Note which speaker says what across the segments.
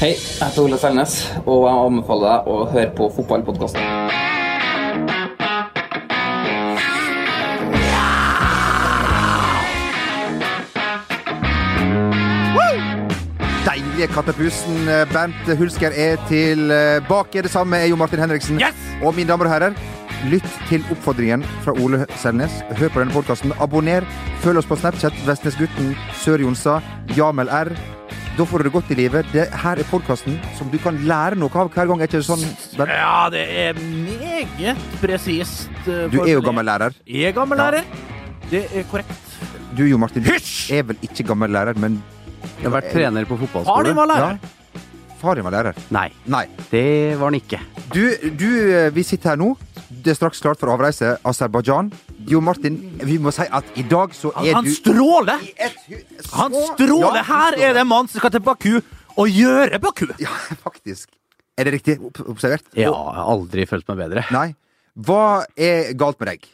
Speaker 1: Hei, jeg heter Ole Selnes, og jeg anbefaler deg å høre på fotballpodkasten.
Speaker 2: Deilige kattepusen. eh, Bernt Hulsker er tilbake. Det samme er Jo Martin Henriksen.
Speaker 3: Yes!
Speaker 2: Og mine damer og herrer, lytt til oppfordringen fra Ole Selnes. Hør på denne podkasten. Abonner. Følg oss på Snapchat. Vestnesgutten, Sør-Jonsa, Jamel R. Da får du det godt i livet. Det her er podkasten som du kan lære noe av hver gang. Er ikke det sånn, Bernt?
Speaker 3: Ja, det er meget presist. eh,
Speaker 2: Du er jo
Speaker 3: formulert.
Speaker 2: gammel lærer.
Speaker 3: Jeg er gammel lærer. Det er korrekt.
Speaker 2: Du, Jo Martin, du
Speaker 3: Hysj!
Speaker 2: er vel ikke gammel lærer, men
Speaker 4: Jeg har vært trener på
Speaker 3: Har du
Speaker 4: fotballskole.
Speaker 3: var lærer?
Speaker 2: Ja, far din var lærer.
Speaker 4: Nei,
Speaker 2: Nei.
Speaker 4: det var han ikke.
Speaker 2: Du, du, eh, vi sitter her nå. Det er straks klart for avreise. Aserbajdsjan. Jo Martin, vi må si at i dag så
Speaker 3: Han,
Speaker 2: er
Speaker 3: han
Speaker 2: du
Speaker 3: stråler!
Speaker 2: i et hu- så-
Speaker 3: Han stråler!
Speaker 2: Ja,
Speaker 3: Her er det en mann som skal til Baku og gjøre Baku!
Speaker 2: Ja, faktisk. Er det riktig opp- observert?
Speaker 4: Ja, jeg har aldri følt meg bedre.
Speaker 2: Nei. Hva er galt med deg?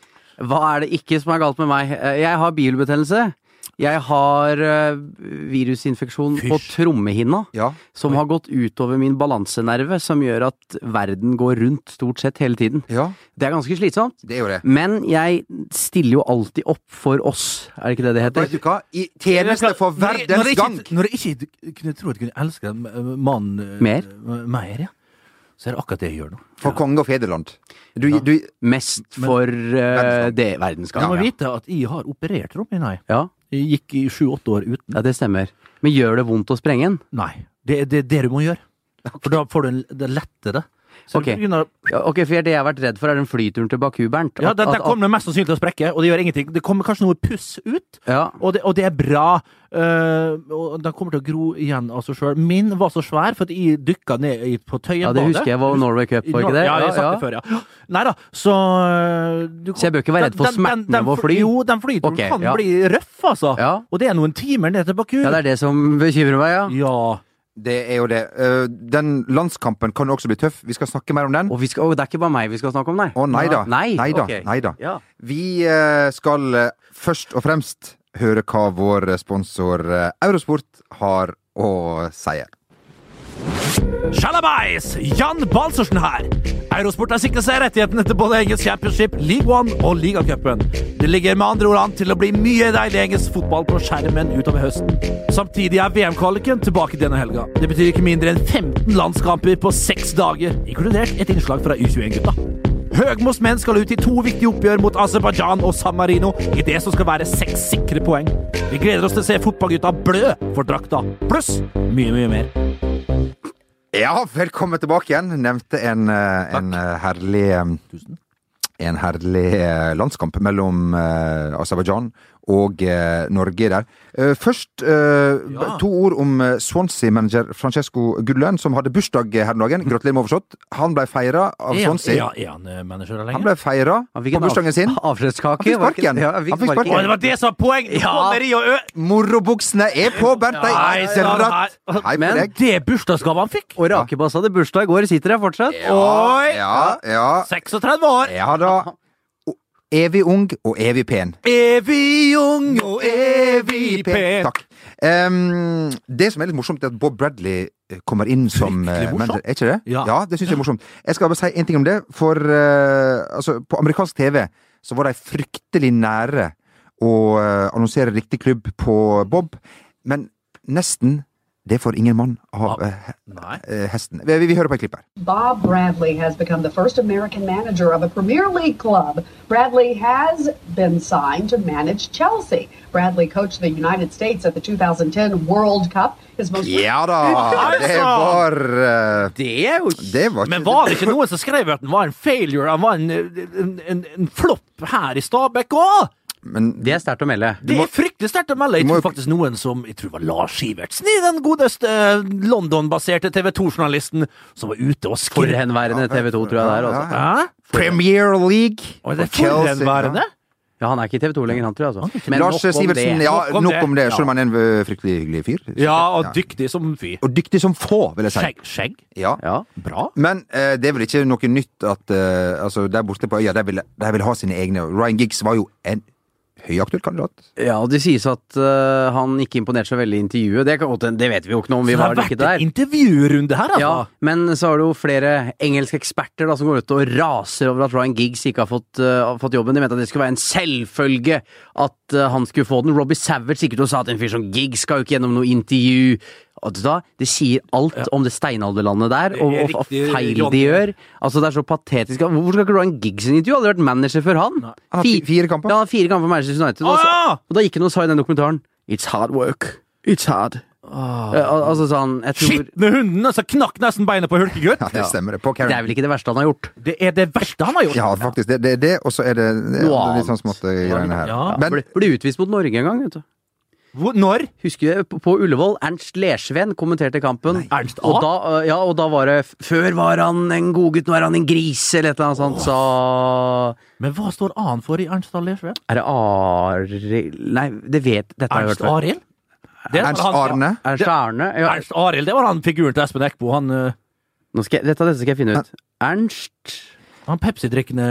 Speaker 4: Hva er det ikke som er galt med meg? Eh, Jeg har bilbetennelse. Jeg har eh, virusinfeksjon på trommehinna.
Speaker 2: Ja.
Speaker 4: Som har gått utover min balansenerve, som gjør at verden går rundt stort sett hele tiden.
Speaker 2: Ja,
Speaker 4: Det er ganske slitsomt.
Speaker 2: det er jo det.
Speaker 4: Men jeg stiller jo alltid opp for oss, er det ikke det det
Speaker 2: Vet
Speaker 4: heter?
Speaker 2: du hva? I tjeneste for
Speaker 3: Når jeg- når
Speaker 2: verdens
Speaker 3: jeg
Speaker 2: gang!
Speaker 3: ikke- Når jeg ikke kunne tro at jeg kunne elske en eh, mann eh,
Speaker 4: Mer?
Speaker 3: eh, mer, ja. Så er det akkurat det jeg gjør nå.
Speaker 2: For konge og fedreland. Du, du
Speaker 4: Mest for eh, det
Speaker 3: Du må
Speaker 4: verdensgangen. Ja.
Speaker 3: vite at jeg har operert rommet, nei.
Speaker 4: Ja.
Speaker 3: Jeg gikk i sju-åtte år uten.
Speaker 4: ja, det stemmer. Men gjør det vondt å sprenge den?
Speaker 3: Nei. Det er det, er det du må gjøre. For da får du en, det er lettere. Så
Speaker 4: Ok.
Speaker 3: du begynner,
Speaker 4: Ja, ok, for det jeg har vært redd for er den flyturen til Baku, Bernt.
Speaker 3: ja,
Speaker 4: At-
Speaker 3: dette
Speaker 4: at-
Speaker 3: kommer mest sannsynlig til å sprekke, og det gjør ingenting. Det kommer kanskje noe puss ut,
Speaker 4: at- ja.
Speaker 3: og det, og det er bra. Eh, og den kommer til å gro igjen av seg sjøl. Min var så svær, for at jeg dykka ned i- på Tøyenbadet.
Speaker 4: ja, det husker jeg var Norway Cup, var ikke det?
Speaker 3: Ja, jeg har sagt det før, ja. Nei da, så øh, du,
Speaker 4: Så jeg bør ikke være redd for
Speaker 3: Den- den-
Speaker 4: smerten
Speaker 3: den-
Speaker 4: av å fly?
Speaker 3: Jo, den flyturen
Speaker 4: Ok,
Speaker 3: kan
Speaker 4: ja.
Speaker 3: bli røff, altså.
Speaker 4: Ja.
Speaker 3: Og det er noen timer ned til Baku.
Speaker 4: ja, det er det som bekymrer meg, ja.
Speaker 3: Ja.
Speaker 2: Det er jo det. Eh, Den landskampen kan også bli tøff. Vi skal snakke mer om den. Å
Speaker 4: Og vi skal, å, det er ikke bare meg vi skal snakke om, nei.
Speaker 2: nei da.
Speaker 4: Nei,
Speaker 2: nei da.
Speaker 4: ok.
Speaker 2: Nei da.
Speaker 4: Ja.
Speaker 2: Vi eh, skal eh, først og fremst høre hva vår sponsor eh, Eurosport har å si.
Speaker 3: Shalabais! Jan Balsersen her. Eurosport har sikret seg rettighetene til både engelsk championship, League One og ligacupen. Det ligger med andre ord an til å bli mye deilig engelsk fotball på skjermen utover høsten. Samtidig er VM-kvaliken tilbake denne helga. Det betyr ikke mindre enn 15 landskamper på seks dager, inkludert et innslag fra U21-gutta. Høgmos menn skal ut i to viktige oppgjør mot Aserbajdsjan og San Marino i det som skal være seks sikre poeng. Vi gleder oss til å se fotballgutta blø for drakta, pluss mye, mye mer.
Speaker 2: Ja, velkommen tilbake igjen. Nevnte en, eh, en eh, herlig eh, En herlig eh, landskamp mellom eh, Aserbajdsjan og eh, Norge der. Eh, først eh, b-
Speaker 3: Ja.
Speaker 2: to ord om eh, Swansea-manager Francesco Gudlund, som hadde bursdag her om dagen. Gratulerer med overstått. Han ble feira av
Speaker 3: Er han-
Speaker 2: Swansea.
Speaker 3: Er han, er han eh, manager
Speaker 2: Han
Speaker 3: lenger?
Speaker 2: ble feira
Speaker 4: Han
Speaker 2: på
Speaker 4: fikk en av-
Speaker 2: bursdagen sin.
Speaker 4: Avskjedskake.
Speaker 2: Han fikk
Speaker 4: var ikke-
Speaker 2: sparken.
Speaker 4: Ja, han fikk
Speaker 2: Han fikk
Speaker 4: sparken.
Speaker 3: Å, det var det som var poenget! Du
Speaker 4: Ja.
Speaker 3: Kommer i og ø...
Speaker 2: Morobuksene er på, Bernt! De
Speaker 3: Nei, sånn,
Speaker 2: er dratt.
Speaker 3: nei.
Speaker 2: Hei på
Speaker 4: Men-
Speaker 2: deg.
Speaker 3: Det er bursdagsgave han fikk!
Speaker 4: Og Rakebass hadde bursdag i går, sitter der fortsatt.
Speaker 3: Oi!
Speaker 2: Ja, ja,
Speaker 3: 36 år!
Speaker 2: ja da. O- Evig ung og evig pen.
Speaker 3: Evig ung og evig pen.
Speaker 2: Takk. Ehm, det som er litt morsomt, er at Bob Bradley eh, kommer inn som
Speaker 3: Fryktelig
Speaker 2: eh,
Speaker 3: morsomt.
Speaker 2: manager. Er ikke det?
Speaker 3: Ja.
Speaker 2: det syns jeg er morsomt. Jeg skal bare si en ting om det. For eh, altså, på amerikansk TV så var de fryktelig nære å eh, annonsere riktig klubb på Bob, men nesten. Det får ingen mann av eh,
Speaker 3: Nei.
Speaker 2: eh, hesten. Vi, vi, vi hører på et klipp her.
Speaker 5: Bob Bradley has become the first American manager of a Premier League club. Bradley has been signed to manage Chelsea. Bradley coached the United States at the 2010 World Cup. His most
Speaker 2: Ja da!
Speaker 3: Hei,
Speaker 2: Det
Speaker 3: sann!
Speaker 2: var eh,
Speaker 4: Det er jo
Speaker 2: Det var
Speaker 3: Men var det ikke noen som skrev at han var en failure? Han var en, en, en, en flopp her i Stabekk òg!
Speaker 2: Men
Speaker 4: Det er sterkt å melde.
Speaker 3: Det er fryktelig sterkt å melde. Jeg
Speaker 2: Du må-
Speaker 3: tror faktisk noen som Jeg tror det var Lars Sivertsen, i den godeste eh, London-baserte TV 2-journalisten, som var ute og skrev
Speaker 4: Forhenværende TV 2, tror jeg det er. Altså.
Speaker 2: Ja,
Speaker 3: Hæ?
Speaker 2: Premier League
Speaker 3: Og det er
Speaker 2: Chelsea,
Speaker 3: forhenværende?
Speaker 2: ja.
Speaker 4: Ja, han er ikke i TV 2 lenger, han tror jeg. Altså. Men
Speaker 2: Lars
Speaker 4: nok om
Speaker 2: Sivertsen,
Speaker 4: det.
Speaker 2: ja,
Speaker 3: Nok om
Speaker 2: nok
Speaker 3: det.
Speaker 2: om det.
Speaker 3: Ja.
Speaker 2: Selv om han er en ø, fryktelig hyggelig fyr. sikkert.
Speaker 3: Ja, og
Speaker 2: Ja.
Speaker 3: dyktig som fy.
Speaker 2: Og dyktig som få, vil jeg si.
Speaker 3: Skjegg. skjegg.
Speaker 2: Ja.
Speaker 4: Ja.
Speaker 3: Bra.
Speaker 2: Men eh, det er vel ikke noe nytt at eh, altså, der borte på øya, de vil, de vil ha sine egne. Ryan Giggs var jo en høyaktuell kandidat.
Speaker 4: Ja, og det sies at eh, han ikke imponerte så veldig i intervjuet. Det, kan, godt- det vet vi jo ikke noe om, vi
Speaker 3: det har
Speaker 4: var ikke
Speaker 3: vært en
Speaker 4: der.
Speaker 3: intervjurunde her, altså!
Speaker 4: Ja, men så har du jo flere engelske eksperter da, som går ut og raser over at Ryan Giggs ikke har fått, eh, har fått jobben. De mente at det skulle være en selvfølge at eh, han skulle få den. Robbie Savage gikk ut og sa at en fyr som Giggs skal jo ikke gjennom noe intervju. Og vet du hva? Det sier alt om det steinalderlandet der, og, og, og
Speaker 3: Riktig,
Speaker 4: feil
Speaker 3: Ronny.
Speaker 4: de gjør. Altså, det er så patetisk. Hvorfor skal ikke Ryan Giggs inn i intervju? Han Hadde vært manager før han.
Speaker 2: Han har
Speaker 4: Fi-
Speaker 2: fi- fire kamper. Ah!
Speaker 4: Ja, han har fire kamper for Manchester United. Og,
Speaker 3: Å,
Speaker 4: så,
Speaker 3: ja!
Speaker 4: og da gikk han og sa i den dokumentaren It's hard work. It's hard.
Speaker 2: Ah.
Speaker 4: Eh, al- altså sånn, jeg tror
Speaker 3: Skitne hunden! Altså, knakk nesten beinet på Hulkegutt!
Speaker 2: Ja, det stemmer. det. På
Speaker 4: Det er
Speaker 2: Karen.
Speaker 4: vel ikke det verste han har gjort.
Speaker 3: Det er det verste han har gjort!
Speaker 2: Ja, faktisk. Det det er det, og så er det, det er
Speaker 4: Noe
Speaker 2: andre litt sånn
Speaker 4: annet.
Speaker 2: småtte greiene her.
Speaker 3: Ja.
Speaker 2: Men
Speaker 4: Ble, ble utvist mot Norge en gang, vet du.
Speaker 3: Hvor, når?
Speaker 4: Husker jeg, på- på Ullevål, Ernst Lersven kommenterte kampen.
Speaker 3: Ernst A?
Speaker 4: Og da, øh, ja, og da var det f- Før var han en godgutt, nå er han en gris, eller et eller annet sånt, sa
Speaker 3: Men hva står A-en for i Ernst Allersve?
Speaker 4: Er det Arild Nei, det vet Dette har jeg hørt
Speaker 3: Ernst
Speaker 4: før.
Speaker 3: Arild? Det var
Speaker 2: Ernst
Speaker 3: han-
Speaker 2: Arne
Speaker 4: Ernst Arne?
Speaker 3: Ja,
Speaker 4: Ja,
Speaker 3: Ernst Arild, det var han figuren til Espen Eckbo. Han, eh,
Speaker 4: nå skal jeg, dette, dette skal jeg finne ut. Ernst
Speaker 3: han Pepsi-drikkende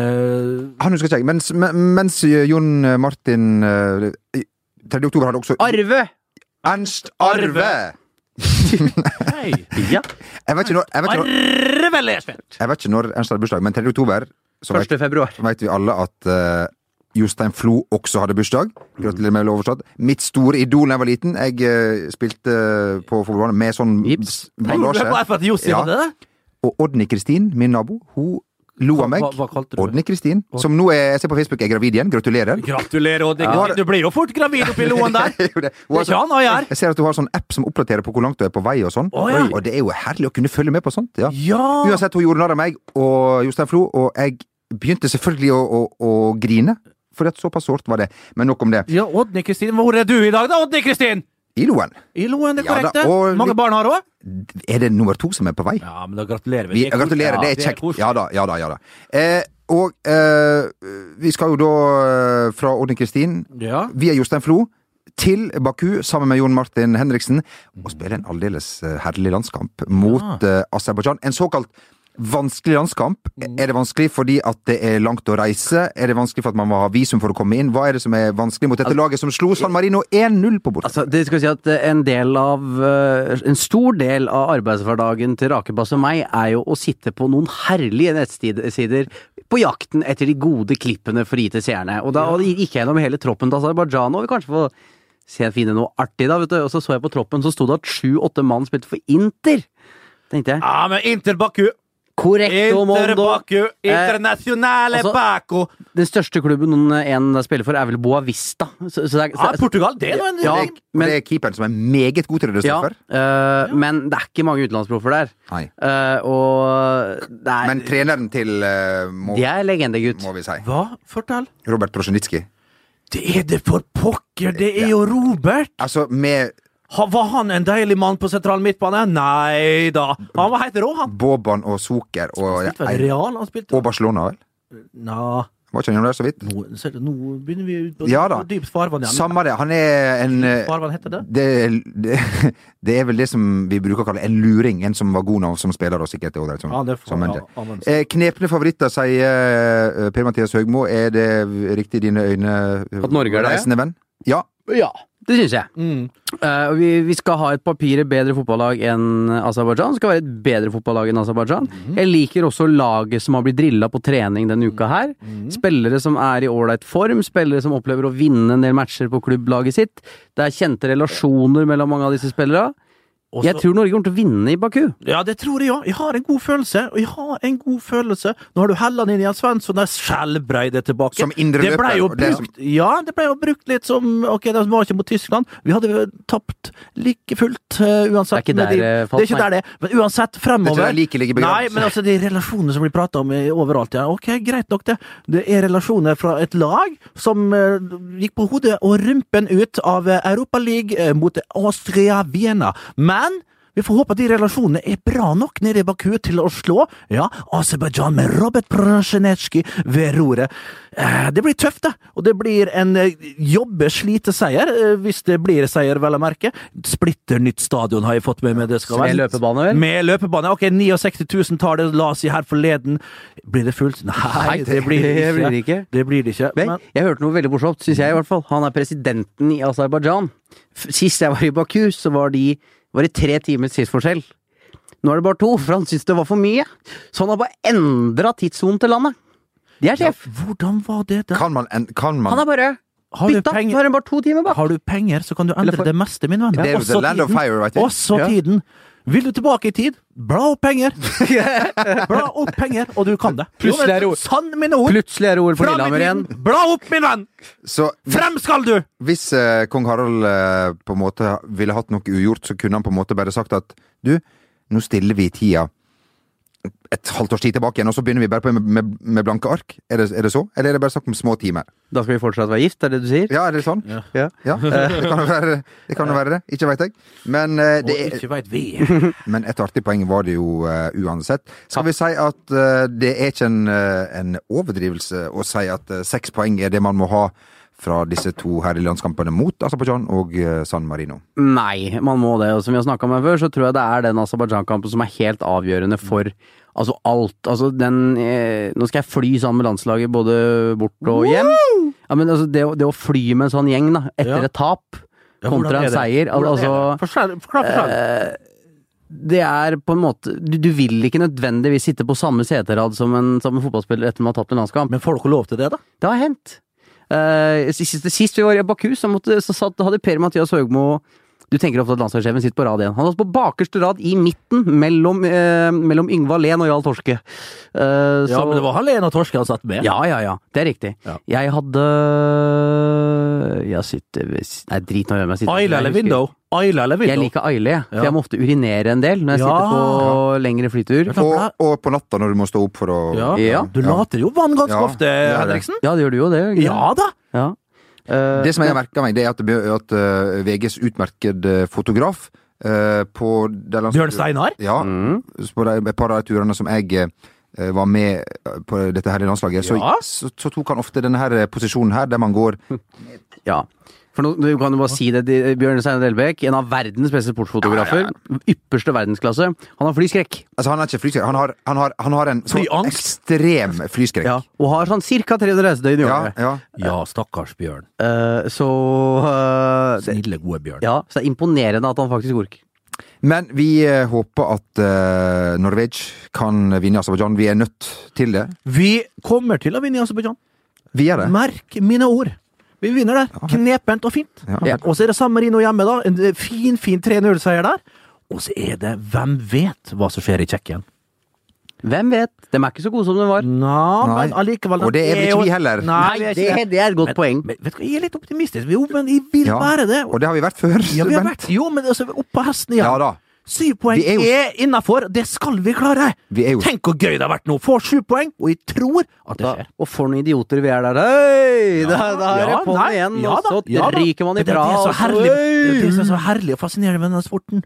Speaker 2: Han husker ikke Ah, jeg. Mens, men- mens Jon Martin eh, i- 3. oktober hadde også
Speaker 4: Arve!
Speaker 2: Ernst Arve!
Speaker 3: Hei!
Speaker 4: Ja.
Speaker 2: Jeg vet ikke når, jeg vet ikke når,
Speaker 3: Arve Lersve!
Speaker 2: jeg vet ikke når Ernst hadde bursdag, men 3. oktober så vet,
Speaker 4: 1. februar.
Speaker 2: vet vi alle at eh, Jostein Flo også hadde bursdag. Gratulerer med lovoverstått. Mitt store idol da jeg var liten. Jeg eh, spilte eh, på fotballbanen med sånn
Speaker 4: Gips.
Speaker 3: Tror du det
Speaker 2: bandasje.
Speaker 3: var for at Jossi
Speaker 2: Ja.
Speaker 3: hadde det?
Speaker 2: Og Odny Kristin, min nabo, hun lo av meg.
Speaker 3: Hva, hva kalte du det?
Speaker 2: Odny Kristin, som nå er, jeg ser på Facebook, er gravid igjen. Gratulerer.
Speaker 3: Gratulerer, Odd. Du blir jo fort gravid oppi loen der.
Speaker 2: Det
Speaker 3: Det
Speaker 2: er jo det. Hun
Speaker 3: er
Speaker 2: har
Speaker 3: ikke
Speaker 2: sånn-
Speaker 3: han og jeg er.
Speaker 2: Jeg ser at du har sånn app som oppdaterer på hvor langt du er på vei og sånn.
Speaker 3: Å, ja.
Speaker 2: Og det er jo herlig å kunne følge med på sånt. Ja.
Speaker 3: Ja!
Speaker 2: Uansett, hun gjorde narr av meg og Jostein Flo, og jeg begynte selvfølgelig å, å, å grine. For at såpass sårt var det. Men nok om det.
Speaker 3: Ja, Odny Kristin, hvor er du i dag, da? Odny Kristin!
Speaker 2: I loen,
Speaker 3: I loen, det
Speaker 2: Ja da,
Speaker 3: korrekte.
Speaker 2: og
Speaker 3: Mange
Speaker 2: litt-
Speaker 3: barn har òg?
Speaker 2: er det nummer to som er på vei?
Speaker 3: Ja, men da gratulerer
Speaker 2: Vi, gratulerer, det er kjekt. Ja da, ja da. ja da. Eh, og eh, vi skal jo da eh, fra Odne Kristin
Speaker 3: Ja.
Speaker 2: via Jostein Flo til Baku sammen med Jon Martin Henriksen og spille en aldeles eh, herlig landskamp mot eh, Aserbajdsjan. En såkalt vanskelig landskamp.
Speaker 4: Mm.
Speaker 2: Er det vanskelig fordi at det er langt å reise? Er det vanskelig for at man må ha visum for å komme inn? Hva er det som er vanskelig mot dette laget som slo San Marino 1-0 på bordet?
Speaker 4: Altså, det skal si at eh, en del av eh, En stor del av arbeidshverdagen til Rakebass og meg er jo å sitte på noen herlige nettsider på jakten etter de gode klippene for å gi til seerne. Og da og gikk jeg gjennom hele troppen til Aserbajdsjan og vi kanskje få se finne noe artig, da. Vet du. Og så så jeg på troppen, så sto det at sju-åtte mann spilte for Inter. Tenkte jeg.
Speaker 3: Ja, men Inter Baku.
Speaker 4: Correcto
Speaker 3: Inter
Speaker 4: mondo!
Speaker 3: Baku. Internasjonale
Speaker 4: altså-
Speaker 3: Baku.
Speaker 4: Den største klubben noen eh, en spiller for, er vel Boavista. Så, så det er,
Speaker 3: Ja,
Speaker 4: så,
Speaker 3: Portugal, det er nå en
Speaker 4: Ja,
Speaker 2: det, er,
Speaker 4: men-
Speaker 2: det er keeperen som er meget god til det,
Speaker 4: ja,
Speaker 2: Stoffer.
Speaker 4: eh, men det er ikke mange utenlandsproffer der.
Speaker 2: Nei.
Speaker 4: Eh, og det er
Speaker 2: Men treneren til eh, må,
Speaker 4: De er legendegutt.
Speaker 2: må vi si.
Speaker 3: Hva? Fortell.
Speaker 2: Robert Prosjenitskij.
Speaker 3: Det er det for pokker! Det er jo Robert!
Speaker 2: Altså, med
Speaker 3: Ha, var han en deilig mann på sentral midtbane? Nei da. Han var helt rå, han.
Speaker 2: Boban og Zucker og,
Speaker 3: Spilte vel Real, han spilte
Speaker 2: og Barcelona, vel?
Speaker 3: Nja
Speaker 2: Var ikke han der så vidt?
Speaker 3: nå, ser du, nå begynner vi ut på,
Speaker 2: Ja da.
Speaker 3: på dypt farvann igjen.
Speaker 2: Samme det. Han er en eh,
Speaker 3: Farvann heter det?
Speaker 2: det, det, det er vel det som vi bruker å kalle en luring. En som var god nå som spiller, og sikkert er ålreit som,
Speaker 3: Ja, det får-
Speaker 2: som manager.
Speaker 3: ja, amen.
Speaker 2: Eh, knepne favoritter, sier eh, Per-Mathias Høgmo. Er det riktig i dine øyne? eh,
Speaker 4: At Norge er det?
Speaker 2: Reisende venn? Ja.
Speaker 4: Ja, det syns jeg.
Speaker 3: Mm.
Speaker 4: Eh, og vi, vi skal ha et papiret bedre fotballag enn Aserbajdsjan. Skal være et bedre fotballag enn Aserbajdsjan.
Speaker 3: Mm.
Speaker 4: Jeg liker også laget som har blitt drilla på trening denne uka her.
Speaker 3: Mm.
Speaker 4: Spillere som er i ålreit form, spillere som opplever å vinne en del matcher på klubblaget sitt. Det er kjente relasjoner mellom mange av disse spillere.
Speaker 3: Og
Speaker 4: Jeg
Speaker 3: så-
Speaker 4: tror Norge kommer til å vinne i Baku.
Speaker 3: Ja, det tror jeg òg. Jeg har en god følelse. Og jeg har en god følelse Nå har du Helland inn i en Svensson, der skjelbrei det tilbake.
Speaker 2: Som indre
Speaker 3: det ble
Speaker 2: løper,
Speaker 3: jo
Speaker 2: og det som-
Speaker 3: brukt, Ja, det ble jo brukt litt som Ok, de var ikke mot Tyskland. Vi hadde jo tapt like fullt eh, uansett.
Speaker 4: Det er ikke
Speaker 3: med
Speaker 4: der,
Speaker 3: de-
Speaker 4: eh,
Speaker 3: det er
Speaker 4: falt,
Speaker 3: ikke der det er. Men uansett, fremover
Speaker 2: Det er like, like begravd.
Speaker 3: Nei, men altså, de relasjonene som blir prata om i- overalt, ja. Ok, greit nok, det. Det er relasjoner fra et lag som eh, gikk på hodet og rumpen ut av eh, Europa League eh, mot Austria Vienna. Men Vi får håpe at de relasjonene er bra nok nede i Baku til å slå ja, Aserbajdsjan med Robert Prasjenetskij ved roret. Eh, Det blir tøft, det, og det blir en eh, jobbe-slite-seier, eh, hvis det blir seier, vel å merke. Splitter nytt stadion har jeg fått med meg, det skal
Speaker 4: Med
Speaker 3: være.
Speaker 4: løpebane, vel?
Speaker 3: Med løpebane. Ok, 69 000 tar det, la oss si, her forleden. Blir det fullt? Nei, det, blir det ikke.
Speaker 4: blir det ikke.
Speaker 3: Det blir det ikke.
Speaker 4: Men,
Speaker 3: Men,
Speaker 4: jeg hørte noe veldig morsomt, syns jeg i hvert fall. Han er presidenten i Aserbajdsjan. F- Sist jeg var i Baku, så var, de, var det tre timers tidsforskjell. Nå er det bare to, for han syntes det var for mye. Så han har bare endra tidssonen til landet. Det er sjef.
Speaker 3: hvordan var det da?
Speaker 2: Kan man, en, kan man
Speaker 4: Han har bare
Speaker 3: Har du
Speaker 4: bytta.
Speaker 3: penger-
Speaker 4: Nå er det bare to timer bak.
Speaker 3: Har du penger, så kan du endre
Speaker 4: Eller for-
Speaker 3: det meste, min venn.
Speaker 2: Det er jo
Speaker 3: Også
Speaker 2: the land of
Speaker 3: tiden.
Speaker 2: fire, vet du.
Speaker 3: Også
Speaker 4: Ja.
Speaker 3: tiden. Vil du tilbake i tid, bla opp penger! bla opp penger, og du kan det.
Speaker 4: Plutselig er det ord.
Speaker 3: Sann mine ord!
Speaker 4: Plutselig er det OL for
Speaker 3: Fram i
Speaker 4: Lillehammer igjen.
Speaker 3: tiden. Bla opp, min venn!
Speaker 2: Så hvis,
Speaker 3: Frem skal du!
Speaker 2: hvis eh, kong Harald eh, på en måte ville hatt noe ugjort, så kunne han på en måte bare sagt at du, nå stiller vi tida et halvt års tid tilbake igjen, og så begynner vi bare på med, med, med blanke ark? Er det, er det så? Eller er det bare snakk om små timer?
Speaker 4: Da skal vi fortsatt være gift, er det du sier?
Speaker 2: Ja, er det sånn? Ja.
Speaker 4: Ja.
Speaker 2: Det kan jo være det. Kan jo være det. Ikke veit jeg. Men, eh, det
Speaker 3: Og
Speaker 2: er,
Speaker 3: ikke veit vi.
Speaker 2: men et artig poeng var det jo eh, uansett. Skal vi si at eh, det er ikke en, eh, en overdrivelse å si at eh, seks poeng er det man må ha fra disse to her i landskampene mot Aserbajdsjan og eh, San Marino?
Speaker 4: Nei, man må det. Og som vi har snakka om her før, så tror jeg det er den Aserbajdsjan-kampen som er helt avgjørende for altså alt. Altså den eh, Nå skal jeg fly sammen med landslaget både bort og hjem. Ja, men altså det, å- det å fly med en sånn gjeng, da, etter
Speaker 3: Ja.
Speaker 4: et tap
Speaker 3: Ja, hvordan
Speaker 4: kontra
Speaker 3: er
Speaker 4: en
Speaker 3: det?
Speaker 4: seier al-
Speaker 3: Hvordan er
Speaker 4: altså,
Speaker 3: det? Forskjell, forklar forskjellen.
Speaker 4: Det er på en måte Du, du vil ikke nødvendigvis sitte på samme seterad som en, som en fotballspiller etter man har tapt en landskamp.
Speaker 3: Men får dere lov til det, da?
Speaker 4: Det har hendt. Eh, sist, sist vi var i Baku, så, måtte, så satt, hadde Per-Mathias Høgmo Du tenker ofte at landslagssjefen sitter på rad én. Han satt på bakerste rad i midten, mellom, uh, mellom Yngvar Lehn og Jarl Torske. Eh,
Speaker 3: Ja,
Speaker 4: så-
Speaker 3: men det var Hallén og Torske han satt med.
Speaker 4: ja, ja, ja. Det er riktig.
Speaker 3: Ja.
Speaker 4: Jeg hadde Jeg sitter ved s- Nei, drit nå i hvem jeg sitter ved.
Speaker 3: Ayla eller
Speaker 4: Jeg husker-
Speaker 3: Window? Ayla eller
Speaker 4: Jeg
Speaker 3: Window?
Speaker 4: liker Aile, jeg,
Speaker 3: Ja.
Speaker 4: for jeg må ofte urinere en del når jeg
Speaker 3: Ja.
Speaker 4: sitter på lengre flytur.
Speaker 3: Ja, for
Speaker 2: Og,
Speaker 3: da-
Speaker 2: og på natta når du må stå opp for å
Speaker 3: Ja.
Speaker 4: Ja.
Speaker 3: Du later jo vann ganske
Speaker 2: Ja,
Speaker 3: ofte,
Speaker 2: det gjør det.
Speaker 3: Henriksen.
Speaker 4: Ja, det gjør du jo, det. gjør du ikke
Speaker 3: Ja da!
Speaker 4: Ja. Eh,
Speaker 2: Det som jeg har merka meg, det er at, det be- at eh, VGs utmerkede fotograf eh, på Mm. de lands-
Speaker 3: Bjørn Steinar.
Speaker 2: Ja, på de, et par av de turene som jeg eh, var med på dette her i landslaget, så,
Speaker 3: Ja.
Speaker 2: så, så tok han ofte denne her eh, posisjonen her, der man går
Speaker 4: Ja. For nå, du kan jo bare si det, de- Bjørn Steinar Delbekk, en av verdens beste sportsfotografer. Ypperste verdensklasse. Han har flyskrekk,
Speaker 2: Altså, han er ikke flyskrekk, han har, han har, han har en sånn
Speaker 3: Flyangst?
Speaker 2: ekstrem flyskrekk. Ja,
Speaker 4: og har sånn ca. 300 reisedøgn i
Speaker 2: ja.
Speaker 4: året.
Speaker 3: Ja, stakkars Bjørn.
Speaker 4: Eh, så eh, det,
Speaker 3: Snille, gode Bjørn.
Speaker 4: Ja, så det er imponerende at han faktisk orker.
Speaker 2: Men vi eh, håper at eh, Norwich kan vinne Aserbajdsjan. Vi er nødt til det.
Speaker 3: Vi kommer til å vinne i Aserbajdsjan.
Speaker 2: Vi er det.
Speaker 3: Merk mine ord. Vi vinner der. Knepent og fint.
Speaker 2: Ja.
Speaker 3: Ja. Og så er det San Marino hjemme, da. En eh, fin, fin 3-0-seier der. Og så er det Hvem vet hva som skjer i Tsjekkia?
Speaker 4: Hvem vet? De er ikke så gode som de var.
Speaker 3: Nei,
Speaker 2: Nei.
Speaker 3: men allikevel
Speaker 2: Og det er vel ikke
Speaker 3: jo-
Speaker 2: vi heller.
Speaker 3: Nei, vi er ikke
Speaker 4: det, det er et godt
Speaker 3: Men-
Speaker 4: poeng.
Speaker 3: Men, vet du hva, jeg er litt optimistisk. Jo, men jeg vil
Speaker 2: Ja.
Speaker 3: være det.
Speaker 2: Og det har vi vært før.
Speaker 3: Ja, vi har
Speaker 2: Bent.
Speaker 3: vært, jo, men altså, opp på hesten igjen.
Speaker 2: ja da.
Speaker 3: Syv poeng
Speaker 2: Vi er
Speaker 3: er,
Speaker 2: jo-
Speaker 3: innafor, det skal vi klare!
Speaker 2: Vi er jo-
Speaker 3: Tenk hvor gøy det har vært nå! Få sju poeng, og jeg tror at det
Speaker 4: Da,
Speaker 3: skjer.
Speaker 4: og for noen idioter vi er der. Hei! Da, da er
Speaker 3: Ja,
Speaker 4: det på'n
Speaker 3: nei,
Speaker 4: igjen,
Speaker 3: ja
Speaker 4: og
Speaker 3: da,
Speaker 4: så
Speaker 3: ja da.
Speaker 4: ryker man
Speaker 3: Men det er
Speaker 4: ifra.
Speaker 3: Det,
Speaker 4: og
Speaker 3: som er
Speaker 4: så,
Speaker 3: herlig- det er det som er
Speaker 4: «Øy!»
Speaker 3: så herlig og fascinerende med denne sporten.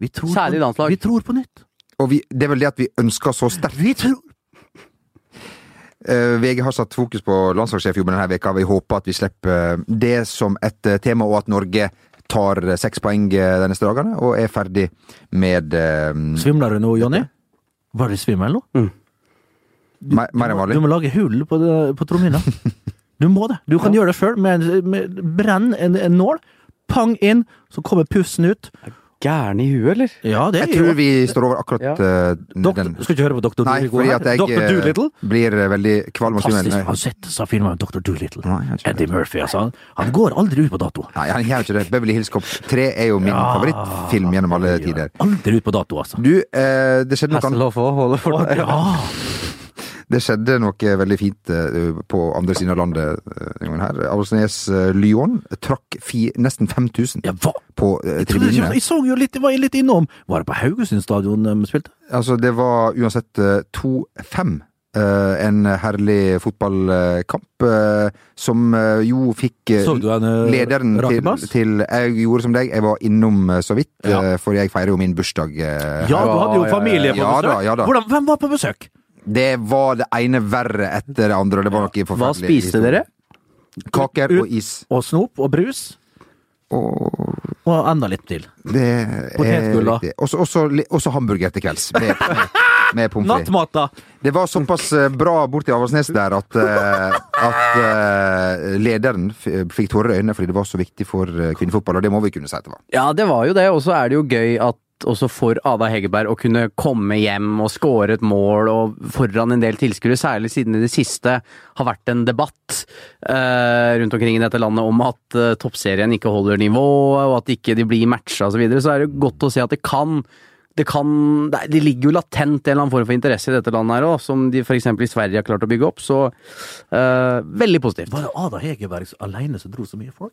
Speaker 3: Vi tror
Speaker 4: Særlig
Speaker 3: på,
Speaker 4: landslag.
Speaker 3: Vi tror på nytt.
Speaker 2: Og vi, det er vel det at vi ønsker så sterkt
Speaker 3: Vi tror
Speaker 2: Eh, VG har satt fokus på landslagssjefjobben denne veka. Vi håper at vi slipper eh, det som et eh, tema, og at Norge tar eh, seks poeng eh, de neste dagene og er ferdig med eh,
Speaker 3: Svimler du nå, Jonny? Var du svimmel nå?
Speaker 2: me- mer enn
Speaker 3: Du
Speaker 2: vanlig.
Speaker 3: må lage hull på, det- på trommehinna. Du må det. Du kan gjøre det sjøl. Med, en- med, brenn en, en nål, pang inn, så kommer pusten ut.
Speaker 4: Gæren i huet, eller?
Speaker 3: Ja, det
Speaker 2: Jeg
Speaker 3: er jo
Speaker 2: tror vi står over akkurat
Speaker 4: Ja.
Speaker 2: eh,
Speaker 3: Doktor,
Speaker 2: den.
Speaker 3: Skal ikke høre på Dr.
Speaker 2: Nei,
Speaker 3: Doolittle.
Speaker 2: fordi at
Speaker 3: her.
Speaker 2: jeg
Speaker 3: Dr.
Speaker 2: eh,
Speaker 3: Doolittle.
Speaker 2: blir eh, veldig kvalm av
Speaker 3: Fantastisk.
Speaker 2: svimmel.
Speaker 3: Han setter seg og filmer med Dr. Doolittle.
Speaker 2: Nei, jeg har ikke
Speaker 3: Eddie Murphy, altså. Han, han går aldri ut på dato.
Speaker 2: Nei, han gjør ikke det. Beverly Hills Cop 3 er jo min
Speaker 3: Ja.
Speaker 2: favorittfilm gjennom alle tider.
Speaker 3: Aldri ut på dato, altså.
Speaker 2: Du, eh, det skjedde noe annet.
Speaker 4: Hasselhoff òg holder for deg.
Speaker 3: Ja.
Speaker 2: Det skjedde noe veldig fint eh, på andre siden av landet eh, denne gangen her. Avaldsnes eh, Lyon trakk fi, nesten 5000
Speaker 3: ja, hva?
Speaker 2: på eh,
Speaker 3: Jeg, trodde ikke,
Speaker 2: tribunene.
Speaker 3: jeg så jo litt, var jeg litt innom. Var det på Haugesund stadion de spilte?
Speaker 2: Altså, det var uansett eh, 2-5 eh, en herlig fotballkamp, eh, som eh, jo fikk eh,
Speaker 3: Så du en eh,
Speaker 2: lederen til,
Speaker 3: rakebass?
Speaker 2: til Jeg gjorde som deg, jeg var innom eh, så vidt,
Speaker 3: Ja.
Speaker 2: eh, for jeg feirer jo min bursdag. eh,
Speaker 3: Ja, du hadde jo
Speaker 4: Ja, ja,
Speaker 3: familie på
Speaker 2: ja,
Speaker 3: besøk.
Speaker 2: da, ja da.
Speaker 3: Hvordan, hvem var på besøk?
Speaker 2: Det var det ene verre etter det andre. og Det var noe forferdelig.
Speaker 4: Hva spiste
Speaker 2: historie.
Speaker 4: dere?
Speaker 2: Kaker og is.
Speaker 3: Og snop og brus? Og enda litt til.
Speaker 2: Det er
Speaker 3: Potetgull, da.
Speaker 2: riktig. Også, også, li- også hamburger til kvelds. Med, med- med pommes frites.
Speaker 3: Nattmat, da!
Speaker 2: Det var såpass eh, bra borti Avaldsnes der at, eh, at eh, lederen f fikk tårer i øynene fordi det var så viktig for eh, kvinnefotball, og det må vi kunne si at det var.
Speaker 4: Ja, det var jo det, og så er det jo gøy at også for Ada Hegerberg å kunne komme hjem og score et mål og foran en del tilskuere, særlig siden det i det siste har vært en debatt eh, rundt omkring i dette landet om at eh, toppserien ikke holder nivået, og at ikke de blir matcha osv., så, videre, så er det godt å se at det kan det, kan, det er- det ligger jo latent en eller annen form for interesse i dette landet her òg, som de f.eks. i Sverige har klart å bygge opp. Så eh, veldig positivt.
Speaker 3: Var det Ada Hegerberg alene som dro så mye folk?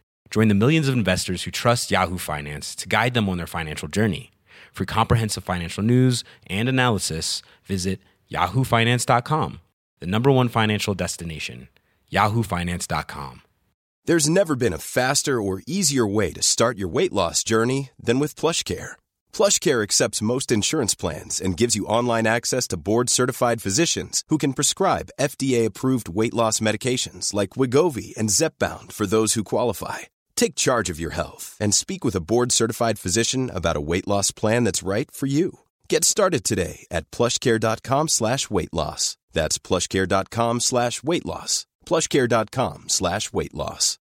Speaker 6: Join the millions of investors who trust Yahoo Finance to guide them on their financial journey. For comprehensive financial news and analysis, visit yahoofinance.com the number one financial destination, yahoofinance.com.
Speaker 7: There's never been a faster or easier way to start your weight loss journey than with PlushCare. PlushCare accepts most insurance plans and gives you online access to board-certified physicians who can prescribe FDA-approved weight loss medications like Wigovi and Zepbound for those who qualify. Take charge of your health and speak with a board-certified physician about a weight loss plan that's right for you. Get started today at plushcare.com slash weight loss. That's plushcare.com slash weight loss. plushcare.com slash weight loss.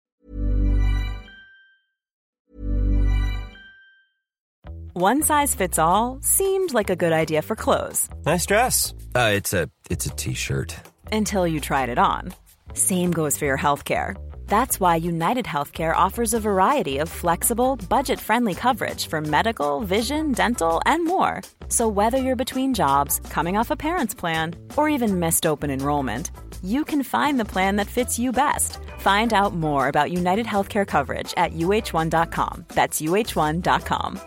Speaker 8: One size fits all seemed like a good idea for clothes
Speaker 9: Nice dress. Uh, it's a it's a t-shirt.
Speaker 8: until you tried it on. Same goes for your healthcare. That's why United Healthcare offers a variety of flexible, budget friendly coverage for medical, vision, dental, and more. So, whether you're between jobs, coming off a parent's plan, or even missed open enrollment, you can find the plan that fits you best. Find out more about United Healthcare coverage at uh1.com. That's uh1.com.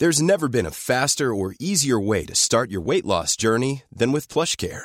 Speaker 7: There's never been a faster or easier way to start your weight loss journey than with PlushCare.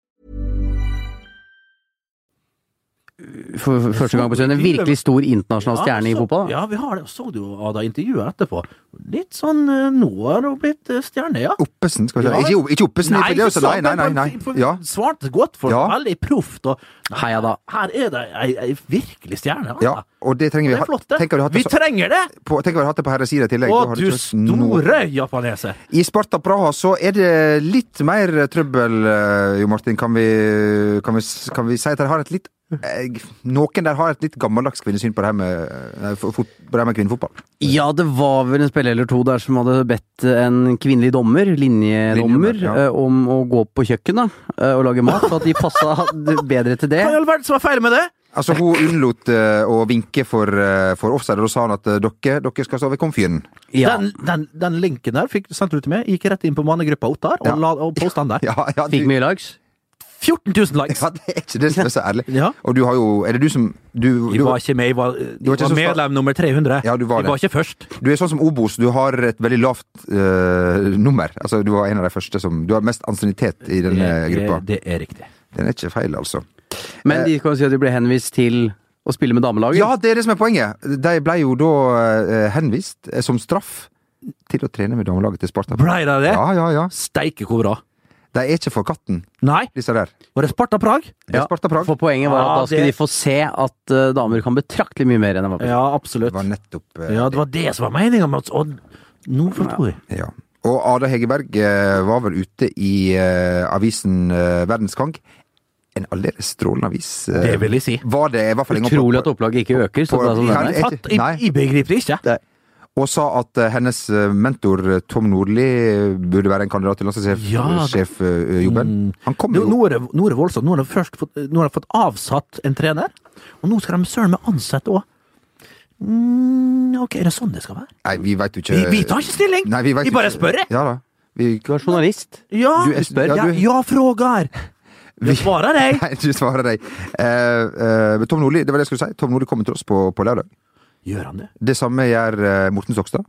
Speaker 4: for for første gang på stund en virkelig stor internasjonal stjerne i
Speaker 3: så-
Speaker 4: fotball. da.
Speaker 3: Ja, vi har det. Så du jo Ada intervjuet etterpå. Litt sånn eh, Nå har hun blitt eh, stjerne, ja.
Speaker 2: Oppesen, skal vi
Speaker 3: Ja.
Speaker 2: si. Ikke, opp- ikke Oppesen, for det er jo så-
Speaker 3: for
Speaker 2: nei,
Speaker 3: satan,
Speaker 2: nei, nei,
Speaker 3: men-
Speaker 2: nei.
Speaker 3: for-
Speaker 2: Ja.
Speaker 3: Svarte godt for
Speaker 2: Ja.
Speaker 3: veldig proft. Og
Speaker 4: Heia da.
Speaker 3: her er det ei, ei virkelig stjerne. altså.
Speaker 2: ja, og det trenger vi.
Speaker 3: Det
Speaker 2: ha-
Speaker 3: er flott, det.
Speaker 2: Tenk om vi hadde
Speaker 3: Vi
Speaker 2: hatt det så-
Speaker 3: trenger det!
Speaker 2: på- tenk om vi hadde hatt det på herresida i tillegg.
Speaker 3: Å,
Speaker 2: Da hadde
Speaker 3: du
Speaker 2: det vært noe.
Speaker 3: store japanese!
Speaker 2: I Sparta Praha så er det litt mer trøbbel, eh, Jo Martin. Kan vi, kan vi, s- kan vi si at de har et litt eh, Noen der har et litt gammeldags kvinnesyn på det her med, eh, fot- på det her med kvinnefotball.
Speaker 4: Ja, det var vel en spiller eller to der som hadde bedt en kvinnelig dommer, linjedommer,
Speaker 2: Linjedommer, ja.
Speaker 4: eh, om å gå på kjøkkenet eh, og lage mat, så at de passa bedre til det.
Speaker 3: Hva i all verden som er feil med det?
Speaker 2: Altså, hun unnlot eh, å vinke for, eh, for offside, og da sa han at eh, dere, dere skal stå ved komfyren.
Speaker 4: Ja.
Speaker 3: Den, den, den linken der fikk sendte du til meg. Gikk rett inn på mannegruppa Ottar og,
Speaker 2: Ja.
Speaker 3: la- og posta den der.
Speaker 2: Ja, ja, du,
Speaker 4: Fikk mye likes.
Speaker 3: 14 000 likes!
Speaker 2: ja, det er ikke det som er så ærlig.
Speaker 3: Ja.
Speaker 2: Og du har jo Er det du som Du,
Speaker 3: Vi
Speaker 2: du,
Speaker 3: var ikke med, vi var, vi
Speaker 2: var ikke
Speaker 3: var
Speaker 2: så sta-
Speaker 3: medlem nummer 300.
Speaker 2: Ja, du var
Speaker 3: vi
Speaker 2: det.
Speaker 3: var ikke først.
Speaker 2: du er sånn som Obos, du har et veldig lavt eh, nummer. Altså, du var en av de første som Du har mest ansiennitet i denne eh, gruppa.
Speaker 3: Det er riktig.
Speaker 2: Den er ikke feil, altså.
Speaker 4: Men de kan jo si at de ble henvist til å spille med damelaget.
Speaker 2: Ja, det er det som er poenget! De ble jo da eh, henvist, eh, som straff, til å trene med damelaget til Sparta.
Speaker 3: Blei det det?
Speaker 2: Ja, ja, ja.
Speaker 3: Steike hvor bra.
Speaker 2: De er ikke for katten,
Speaker 3: Nei.
Speaker 2: disse der.
Speaker 3: Var det Sparta Prag?
Speaker 2: Det er
Speaker 4: Ja,
Speaker 2: Sparta Prag.
Speaker 4: For poenget var
Speaker 3: Ja,
Speaker 4: at da skulle
Speaker 3: det- Eh,
Speaker 4: de få se at eh, damer kan betraktelig mye mer enn de var på.
Speaker 3: Ja,
Speaker 2: Det
Speaker 3: absolutt.
Speaker 2: var nettopp eh,
Speaker 3: Ja, det var det som var meninga, Mats. Og nå forstår jeg.
Speaker 2: Ja. Og Ada Hegerberg eh, var vel ute i eh, avisen eh, Verdenskang. En aldeles strålende avis. eh,
Speaker 3: Det vil jeg si.
Speaker 2: Var det i hvert fall en gang på-
Speaker 4: Utrolig at opplaget ikke øker. Så
Speaker 2: på-
Speaker 3: sånn,
Speaker 4: bra som
Speaker 2: Ja,
Speaker 4: denne.
Speaker 2: det-
Speaker 3: Fatt, jeg,
Speaker 2: Nei.
Speaker 3: jeg begriper ikke.
Speaker 2: Og sa at eh, hennes eh, mentor eh, Tom Nordli eh, burde være en kandidat til
Speaker 3: Ja, det-
Speaker 2: landslagssjefjobben. Han kom
Speaker 3: Nå,
Speaker 2: jo
Speaker 3: nå, er det, nå er det voldsomt. Nå har de først fått, nå har de fått avsatt en trener, og nå skal de søren meg ansette òg. Mm, ok, er det sånn det skal være?
Speaker 2: Nei, vi veit jo ikke
Speaker 3: Vi, vi tar ikke stilling!
Speaker 2: Nei, vi, vet
Speaker 3: bare
Speaker 2: ikke.
Speaker 3: spør, jeg.
Speaker 2: Ja da. Vi, sånn-
Speaker 4: Du er journalist.
Speaker 3: Ja,
Speaker 2: Du er-
Speaker 3: spør.
Speaker 2: ja,
Speaker 3: Ja,
Speaker 2: du-
Speaker 3: ja, frågar!
Speaker 2: Vi-
Speaker 3: Jeg svarer deg!
Speaker 2: nei, du svarer deg. Eh, eh, men Tom Nordli, det var det jeg skulle si. Tom Nordli kommer til oss på, på lørdag.
Speaker 3: Gjør han det?
Speaker 2: Det samme gjør eh, Morten Stokstad.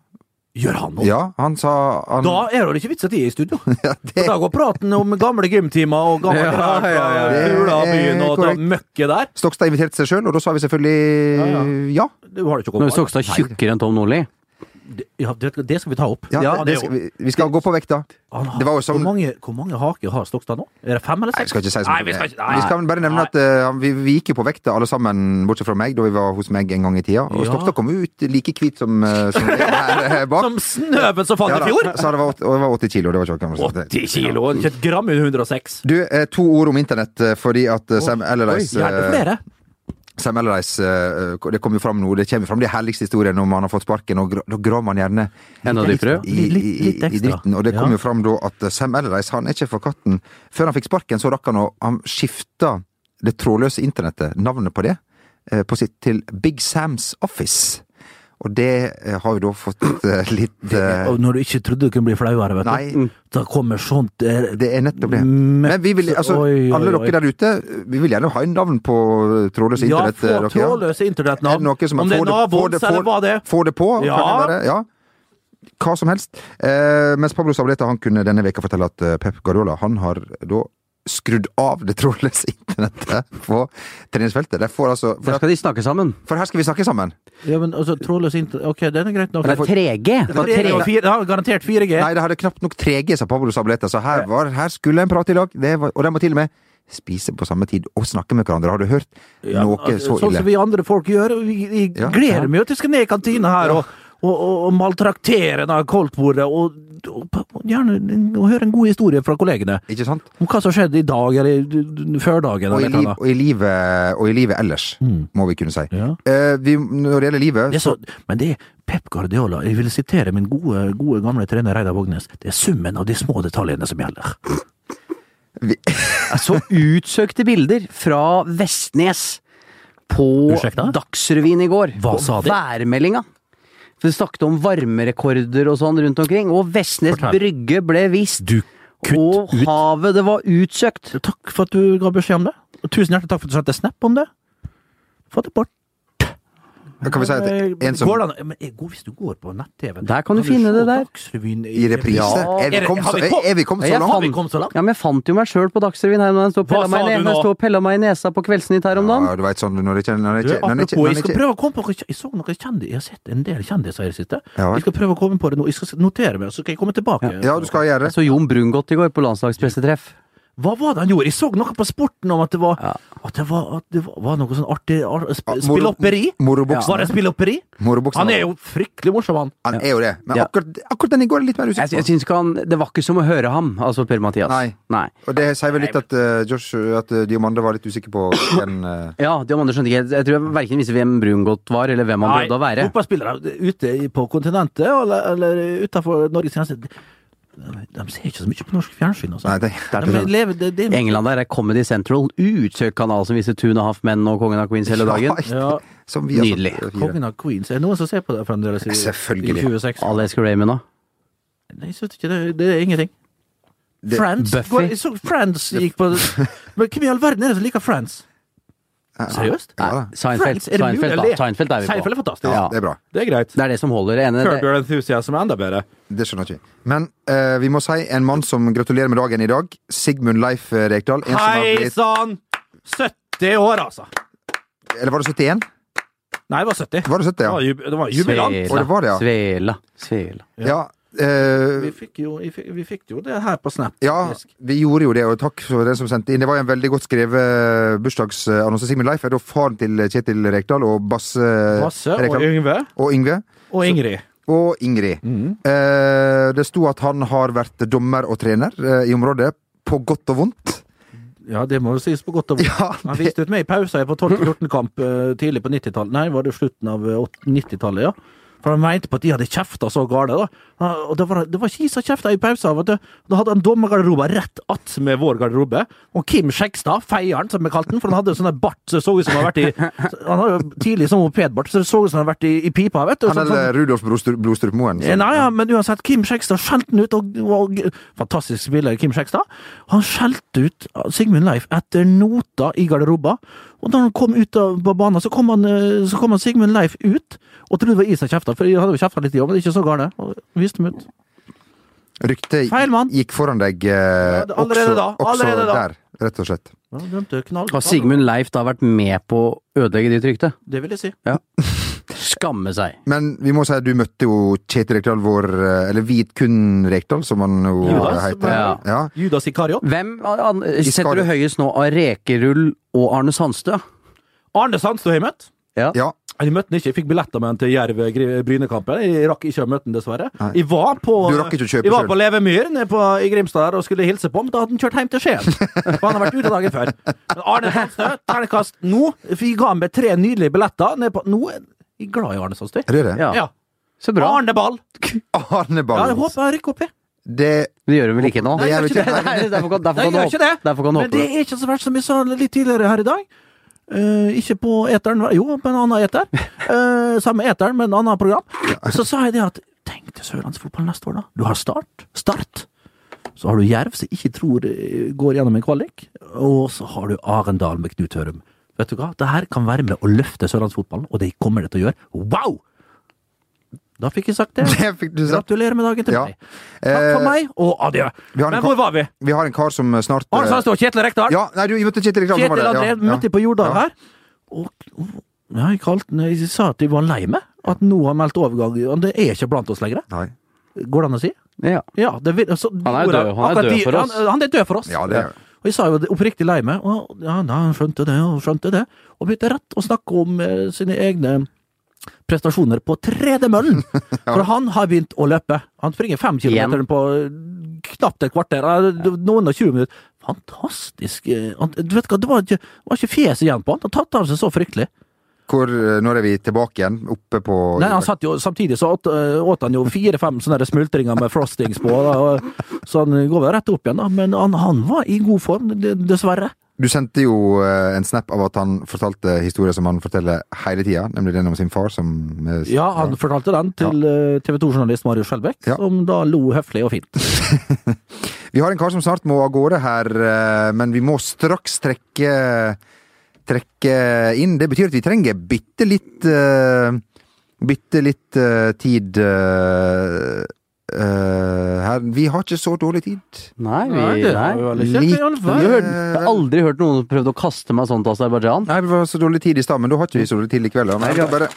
Speaker 3: Gjør han noe?
Speaker 2: Ja, han sa han,
Speaker 3: Da er det ikke vits at jeg er i studio.
Speaker 2: Ja,
Speaker 3: For
Speaker 2: det,
Speaker 3: da går praten om gamle gymtimer og gamle
Speaker 4: Ja,
Speaker 3: greier fra
Speaker 4: ja, ja,
Speaker 2: ja.
Speaker 3: Ulabyen og
Speaker 2: Det er
Speaker 3: dra møkke der.
Speaker 2: Stokstad inviterte seg sjøl, og da sa vi selvfølgelig ja.
Speaker 3: Ja,
Speaker 2: ja.
Speaker 3: Du har det ikke
Speaker 4: Når
Speaker 3: kommet
Speaker 4: Stokstad er tjukkere enn Tom Nordli.
Speaker 3: Ja, det, det skal vi ta opp.
Speaker 2: Ja,
Speaker 3: Han er
Speaker 2: det
Speaker 3: jo-
Speaker 2: skal, vi, vi skal gå på vekta.
Speaker 3: han har-
Speaker 2: det var jo som-
Speaker 3: hvor, mange, hvor mange haker har Stokstad nå? Er det fem eller
Speaker 2: Nei,
Speaker 3: seks?
Speaker 2: vi skal ikke si så
Speaker 3: Nei,
Speaker 2: mye.
Speaker 3: vi skal ikke- nei.
Speaker 2: Vi skal bare nevne
Speaker 3: Nei.
Speaker 2: at eh, vi, vi gikk jo på vekta alle sammen, bortsett fra meg, da vi var hos meg en gang i tida. Og
Speaker 3: Ja.
Speaker 2: Stokstad kom jo ut like hvit som, eh, som det er her eh, bak.
Speaker 3: Som snøven som falt
Speaker 2: Ja
Speaker 3: i
Speaker 2: da,
Speaker 3: fjor!
Speaker 2: Så det var, åt- og det var 80 kilo. Det var ikke noe
Speaker 3: 80 kilo, ikke et gram under 106.
Speaker 2: Du, eh, to ord om internett, eh, fordi at eh, Sam Allardyce
Speaker 3: Oi, gjerne
Speaker 2: eh,
Speaker 3: flere.
Speaker 2: Sam Allardyce, eh, det kommer jo fram nå, det kommer fram de herligste historiene om han har fått sparken, og gr- da graver man gjerne
Speaker 4: Enda dypere.
Speaker 2: i, i,
Speaker 3: Litt-
Speaker 2: i,
Speaker 3: litt
Speaker 2: i
Speaker 3: ekstra.
Speaker 2: dritten. Og det kom
Speaker 3: Ja.
Speaker 2: jo fram da at eh, Sam Allardyce, han er ikke for katten. Før han fikk sparken, så rakk han å Han skifta det trådløse internettet, navnet på det, eh, på sitt til Big Sams Office. Og det eh, har jo da fått eh, litt eh,
Speaker 3: Og når du ikke trodde du kunne bli flauere, vet du.
Speaker 2: Nei.
Speaker 3: Da kommer sånt eh,
Speaker 2: Det er nettopp det.
Speaker 3: Mett-
Speaker 2: Men vi vil, altså,
Speaker 3: Oi, oi,
Speaker 2: alle
Speaker 3: oi.
Speaker 2: dere der ute, vi vil gjerne ha en navn på trådløse
Speaker 3: Ja,
Speaker 2: internett. eh,
Speaker 3: få
Speaker 2: dere,
Speaker 3: trådløse
Speaker 2: Er det
Speaker 3: internettnavn.
Speaker 2: noe som
Speaker 3: Om det er
Speaker 2: får får
Speaker 3: naboens
Speaker 2: får-
Speaker 3: eller hva det er.
Speaker 2: Få det på,
Speaker 3: Ja.
Speaker 2: kan det være. Ja. Hva som helst. Eh, mens Pablo Sabaleta han kunne denne veka fortelle at eh, Pep Guardiola han har da skrudd av det trådløse internettet på treningsfeltet. De får altså,
Speaker 4: Da
Speaker 2: for,
Speaker 4: skal de snakke sammen.
Speaker 2: for her skal vi snakke sammen!
Speaker 3: Ja, men altså, trådløs internett Ok, den er greit nok.
Speaker 4: Det er 3G! Det var
Speaker 3: Tre-
Speaker 4: tre-
Speaker 3: og fire- ja, garantert 4G.
Speaker 2: Nei, det hadde knapt nok 3G, sa Pablo Sabaleta, så her, var, her skulle en prate i lag. Det var, og de må til og med spise på samme tid og snakke med hverandre. Har du hørt
Speaker 3: Ja,
Speaker 2: noe
Speaker 3: altså,
Speaker 2: så
Speaker 3: Sånn
Speaker 2: ille?
Speaker 3: som vi andre folk gjør. og Vi, vi
Speaker 2: Ja.
Speaker 3: gleder meg jo til jeg skal ned i kantina her og, og, og, og maltraktere det koldtbordet. Og, og, og gjerne og høre en god historie fra kollegene
Speaker 2: Ikke sant?
Speaker 3: om hva som skjedde i dag eller d- d- før dagen.
Speaker 2: Og i,
Speaker 3: Eller
Speaker 2: liv,
Speaker 3: hva da. Mm.
Speaker 2: og, i livet, og i livet ellers, må vi kunne si.
Speaker 3: Ja.
Speaker 2: Eh, vi, når det gjelder livet
Speaker 3: Det er så, men det er Pep Guardiola. Jeg vil sitere min gode, gode gamle trener Reidar Vågnes. Det er summen av de små detaljene som gjelder.
Speaker 2: vi,
Speaker 4: Så utsøkte bilder fra Vestnes på
Speaker 3: Ursäkta?
Speaker 4: Dagsrevyen i går.
Speaker 3: Hva sa de?
Speaker 4: Værmeldinga. For de snakket om varmerekorder og sånn rundt omkring, og Vestnes
Speaker 3: Fortell.
Speaker 4: brygge ble vist.
Speaker 3: Du, kutt
Speaker 4: og
Speaker 3: ut.
Speaker 4: havet, det var utsøkt.
Speaker 3: Takk for at du ga beskjed om det. Og tusen hjertelig takk for at du sendte snap om det. Få det bort. Eh,
Speaker 2: kan vi si at en som
Speaker 3: Går det an- men er- Hvis du går på nett-TV
Speaker 4: Der kan du finne
Speaker 3: se
Speaker 4: det der.
Speaker 3: Dagsrevyen
Speaker 2: i reprise
Speaker 4: Ja.
Speaker 2: er, vi
Speaker 3: Er det-
Speaker 2: kom,
Speaker 3: har
Speaker 2: så,
Speaker 3: vi kom-
Speaker 2: er, er vi kommet
Speaker 4: Ja,
Speaker 2: så
Speaker 4: jeg
Speaker 2: langt?
Speaker 4: fant-
Speaker 3: Har vi kommet så langt?
Speaker 4: Ja, men jeg fant jo meg sjøl på Dagsrevyen her når jeg sto og
Speaker 3: Hva
Speaker 4: pella meg,
Speaker 3: sa
Speaker 4: i
Speaker 3: du
Speaker 4: ne- når jeg
Speaker 3: nå?
Speaker 4: sto og pella meg i nesa på Kveldsnytt her om dagen.
Speaker 2: Ja, du vet sånn når det ikke når det
Speaker 3: Du,
Speaker 2: ikke- når det ikke-
Speaker 3: apropos,
Speaker 2: når
Speaker 3: jeg
Speaker 2: det
Speaker 3: skal
Speaker 2: ikke-
Speaker 3: prøve å komme på Jeg så noen kjendis Jeg har sett en del kjendiser i det siste.
Speaker 2: Ja, vel.
Speaker 3: Jeg skal prøve å komme på det nå. Jeg skal notere meg, så skal jeg komme tilbake.
Speaker 2: Ja, du skal gjøre det.
Speaker 4: Jeg så Jon Brungot i går på landslagspressetreff.
Speaker 3: Hva var det han gjorde? Jeg så noe på sporten om at det var At det var, at det var, var noe sånn artig ar, sp,
Speaker 2: Ja, moro-
Speaker 3: Spillopperi?
Speaker 2: morobuksen.
Speaker 3: Var det spillopperi?
Speaker 2: Morobuksen.
Speaker 3: Han er jo fryktelig morsom, han.
Speaker 2: Han er jo det. Men
Speaker 4: Ja.
Speaker 2: akkurat, akkurat den i går er litt mer
Speaker 4: Jeg, sy- jeg
Speaker 2: usikker på.
Speaker 4: syns ikke han Det var ikke som å høre ham, altså Per-Mathias.
Speaker 2: Nei.
Speaker 4: Nei.
Speaker 2: Og det sier vel litt at eh, Josh, at eh, Diomande var litt usikker på den eh,
Speaker 4: Ja, Diamande skjønte ikke Jeg tror jeg verken visste hvem Brungot var, eller hvem han prøvde å være.
Speaker 3: fotballspillere eh, ute i- på kontinentet eller, eller utenfor Norges grense de, de ser ikke så mye på norsk fjernsyn. Altså.
Speaker 2: Nei, det,
Speaker 3: de lever, det, det,
Speaker 4: England der er Comedy Central, utsøkt kanal som viser Two and a Half Men og Kongen av Queens hele dagen.
Speaker 3: Ja.
Speaker 2: Som vi har satt-
Speaker 4: Nydelig.
Speaker 2: fire.
Speaker 3: Kongen av Queens. Er det noen som ser på det fremdeles? I,
Speaker 2: Selvfølgelig.
Speaker 3: I 26?
Speaker 4: Alex Raymond òg.
Speaker 3: Nei, jeg synes ikke det, det er ingenting. Friends?
Speaker 4: Buffy.
Speaker 3: Går- Jeg så Friends gikk på Men hvem i all verden er det som liker Friends?
Speaker 2: Ja,
Speaker 3: Seriøst?
Speaker 2: Ja, da.
Speaker 4: Seinfeld,
Speaker 3: Friends, er det mulig
Speaker 4: Seinfeld,
Speaker 3: å
Speaker 4: da.
Speaker 3: le?
Speaker 4: Seinfeld er vi på.
Speaker 3: Seinfeld er fantastisk.
Speaker 2: ja, det er bra.
Speaker 3: Det er greit.
Speaker 4: Det er det som holder. det ene.
Speaker 3: Curb
Speaker 4: Det,
Speaker 3: Your Enthusiasm er enda bedre.
Speaker 2: Det skjønner ikke vi. Men eh, vi må si en mann som gratulerer med dagen i dag. Sigmund Leif eh, Rekdal. En som har
Speaker 3: Hei
Speaker 2: blitt,
Speaker 3: sann! 70 år, altså.
Speaker 2: eller var det 71?
Speaker 3: Nei, det var 70.
Speaker 2: Var det 70,
Speaker 3: Det
Speaker 2: ja?
Speaker 3: var, jub det var jubilant.
Speaker 2: Å, det var det, ja.
Speaker 4: Svela. Svela.
Speaker 2: ja eh,
Speaker 3: Vi fikk jo, vi fikk, vi fikk jo det her på Snap.
Speaker 2: Ja,
Speaker 3: faktisk.
Speaker 2: vi gjorde jo det, og takk for den som sendte inn. Det var jo en veldig godt skrevet eh, bursdagsannonse. Sigmund Leif er da faren til Kjetil Rekdal og Basse,
Speaker 4: Eh,
Speaker 3: Basse og
Speaker 2: Rekdal.
Speaker 3: Yngve
Speaker 2: og Yngve.
Speaker 3: og Ingrid. Mm.
Speaker 2: Og Ingrid. Eh, det sto at han har vært dommer og trener eh, i området, på godt og vondt.
Speaker 3: Ja, det må jo sies på godt og vondt.
Speaker 2: Ja, det,
Speaker 3: Han viste ut meg i pausen på 12-14-kamp eh, tidlig på 90-tallet. Nei, var det slutten av eh, åt- 90-tallet, ja. For han mente på at de hadde kjefta så gale, da. Ja, Og det var, det var ikke som kjefta i pausen. vet du. Da hadde han dommergarderoba rett att med vår garderobe. Og Kim Skjegstad, feieren, som vi kalte den, for han hadde jo sånn der bart som så ut som han hadde vært i Han hadde jo tidlig sånn mopedbart, så det så ut som han hadde vært i, i pipa, vet du.
Speaker 2: han
Speaker 3: Sånn- sånn-
Speaker 2: eller Rudolf Blodstrup- Blodstrup Moen.
Speaker 3: Eh, Nei, ja, men uansett, Kim Skjegstad skjelte han ut, og, og fantastisk spiller Kim Skjegstad. Han skjelte ut Sigmund Leif etter nota i garderoba, og da han kom ut av på banen, så kom, han, eh, så kom han Sigmund Leif ut, og trodde det var is han kjefta, for jeg hadde jo kjefta litt i år, men ikke så gale. Og viste dem ut.
Speaker 2: Ryktet
Speaker 3: Feil mann.
Speaker 2: gikk foran deg eh,
Speaker 3: det- allerede
Speaker 2: også,
Speaker 3: da,
Speaker 2: også
Speaker 3: allerede da.
Speaker 2: der, rett og slett.
Speaker 3: Ja, dømte knall.
Speaker 4: Har Sigmund Leif da vært med på å ødelegge ditt rykte?
Speaker 3: Det vil jeg si.
Speaker 4: Skamme seg.
Speaker 2: Men vi må si at du møtte jo Kjetil Rekdal, vår eh, Eller Vidkun Rekdal, som han jo
Speaker 3: Judas,
Speaker 2: heter.
Speaker 4: ja.
Speaker 2: Ja.
Speaker 3: Judas Ikariot.
Speaker 4: Hvem an,
Speaker 2: Skar-
Speaker 4: setter du høyest nå av Rekerull og Arne Sandstø?
Speaker 3: Arne Sandstø har jeg møtt.
Speaker 2: ja.
Speaker 3: Jeg møtte han ikke, jeg fikk billetter med han til Jerv-Brynekampen. Jeg rakk ikke å møte han, dessverre. Jeg var på,
Speaker 2: Du rakk ikke å kjøpe
Speaker 3: jeg var
Speaker 2: selv.
Speaker 3: på Levemyr nede på, i Grimstad der og skulle hilse på ham. Da hadde han kjørt hjem til Skien. For han har vært ute dagen før. Men Arne Sandstø, terningkast nå. Vi ga han med tre nydelige billetter. Ned på, nå er jeg glad i Arne Sandstø.
Speaker 2: Er det det?
Speaker 4: Ja.
Speaker 3: Ja.
Speaker 4: Så bra.
Speaker 3: Arne Ball.
Speaker 2: Arne
Speaker 3: Ja,
Speaker 2: Ballen.
Speaker 3: jeg håper han rykker opp, jeg.
Speaker 2: det
Speaker 4: Det gjør du vel ikke nå?
Speaker 2: Nei, jeg gjør ikke det.
Speaker 4: Nei, derfor kan,
Speaker 3: Nei, jeg
Speaker 4: derfor kan du
Speaker 3: gjør
Speaker 4: håpe
Speaker 3: ikke det.
Speaker 4: Derfor kan du
Speaker 3: Men
Speaker 4: håpe
Speaker 3: det
Speaker 4: det.
Speaker 3: er ikke så verst som jeg sa litt tidligere her i dag. Eh, ikke på eteren, jo, på en annen eter. Eh, samme eteren, men annet program. Så sa jeg det at tenk til sørlandsfotball neste år, da. Du har Start. Start. Så har du Jerv, som jeg ikke tror eh, går gjennom en kvalik. Og så har du Arendal med Knut Hørum. Vet du hva? Det her kan være med å løfte sørlandsfotballen, og det kommer det til å gjøre. Wow! Da fikk jeg sagt det.
Speaker 2: Det fikk du sagt.
Speaker 3: Gratulerer med dagen til
Speaker 2: Ja.
Speaker 3: meg. Takk
Speaker 2: Eh,
Speaker 3: for meg, og adjø.
Speaker 2: vi har en
Speaker 3: Men
Speaker 2: ka-
Speaker 3: hvor var vi?
Speaker 2: Vi har en kar som snart eh,
Speaker 3: Arne Sandstø og Kjetil Rekdal.
Speaker 2: Ja, nei, du vi møtte Kjetil Rekdal. det var
Speaker 3: Kjetil
Speaker 2: det.
Speaker 3: André
Speaker 2: Ja,
Speaker 3: møtte jeg på Jordal her. Og, og ja, jeg, kalte, han- jeg sa at jeg var lei meg. At nå har han meldt overgang. Han er ikke blant oss lenger.
Speaker 2: Nei.
Speaker 3: Går det an å si?
Speaker 4: Ja.
Speaker 3: Ja, det vil, altså,
Speaker 4: Han er
Speaker 3: ordet-
Speaker 4: død. Han er
Speaker 3: akkurat
Speaker 4: død
Speaker 3: de-
Speaker 4: for oss.
Speaker 3: Han, han er død for oss.
Speaker 2: Ja, det er-
Speaker 3: Og jeg sa jo det oppriktig lei meg. Og, ja, nei, han skjønte det, og skjønte det. Og begynte rett å snakke om eh, sine egne prestasjoner på tredemøllen. For han har begynt å løpe. Han springer fem kilometer på knapt et kvarter. eh, Noen og 20 minutter. Fantastisk. eh, Han, du vet hva, det var ikke, det var ikke fjes igjen på han. Han tatt av seg så fryktelig.
Speaker 2: Hvor, eh, når er vi tilbake igjen? Oppe på
Speaker 3: Nei, han satt jo, Samtidig så åt, øh, åt han jo fire-fem sånne der smultringer med frostings på, da, og, så han går vel rett opp igjen, da. Men han, han var i god form, d- dessverre.
Speaker 2: Du sendte jo eh, en snap av at han fortalte historier som han forteller hele tida, nemlig den om sin far som eh,
Speaker 3: Ja, han fortalte den til eh, TV 2-journalist Marius Skjelbæk,
Speaker 2: Ja.
Speaker 3: som da lo høflig og fint.
Speaker 2: Vi har en kar som snart må av gårde her, eh, men vi må straks trekke trekke inn. Det betyr at vi trenger bitte litt eh, Bitte litt eh, tid eh, eh, her. Vi har ikke så dårlig tid.
Speaker 4: Nei, vi, nei. Du
Speaker 2: Likevel.
Speaker 4: hørte, jeg har aldri hørt noen prøvde å kaste meg sånn til Aserbajdsjan.
Speaker 2: Nei, det var så dårlig tid i stad, men da har ikke vi så dårlig tid likevel. Da. Men
Speaker 4: Nei, ja.
Speaker 2: bare,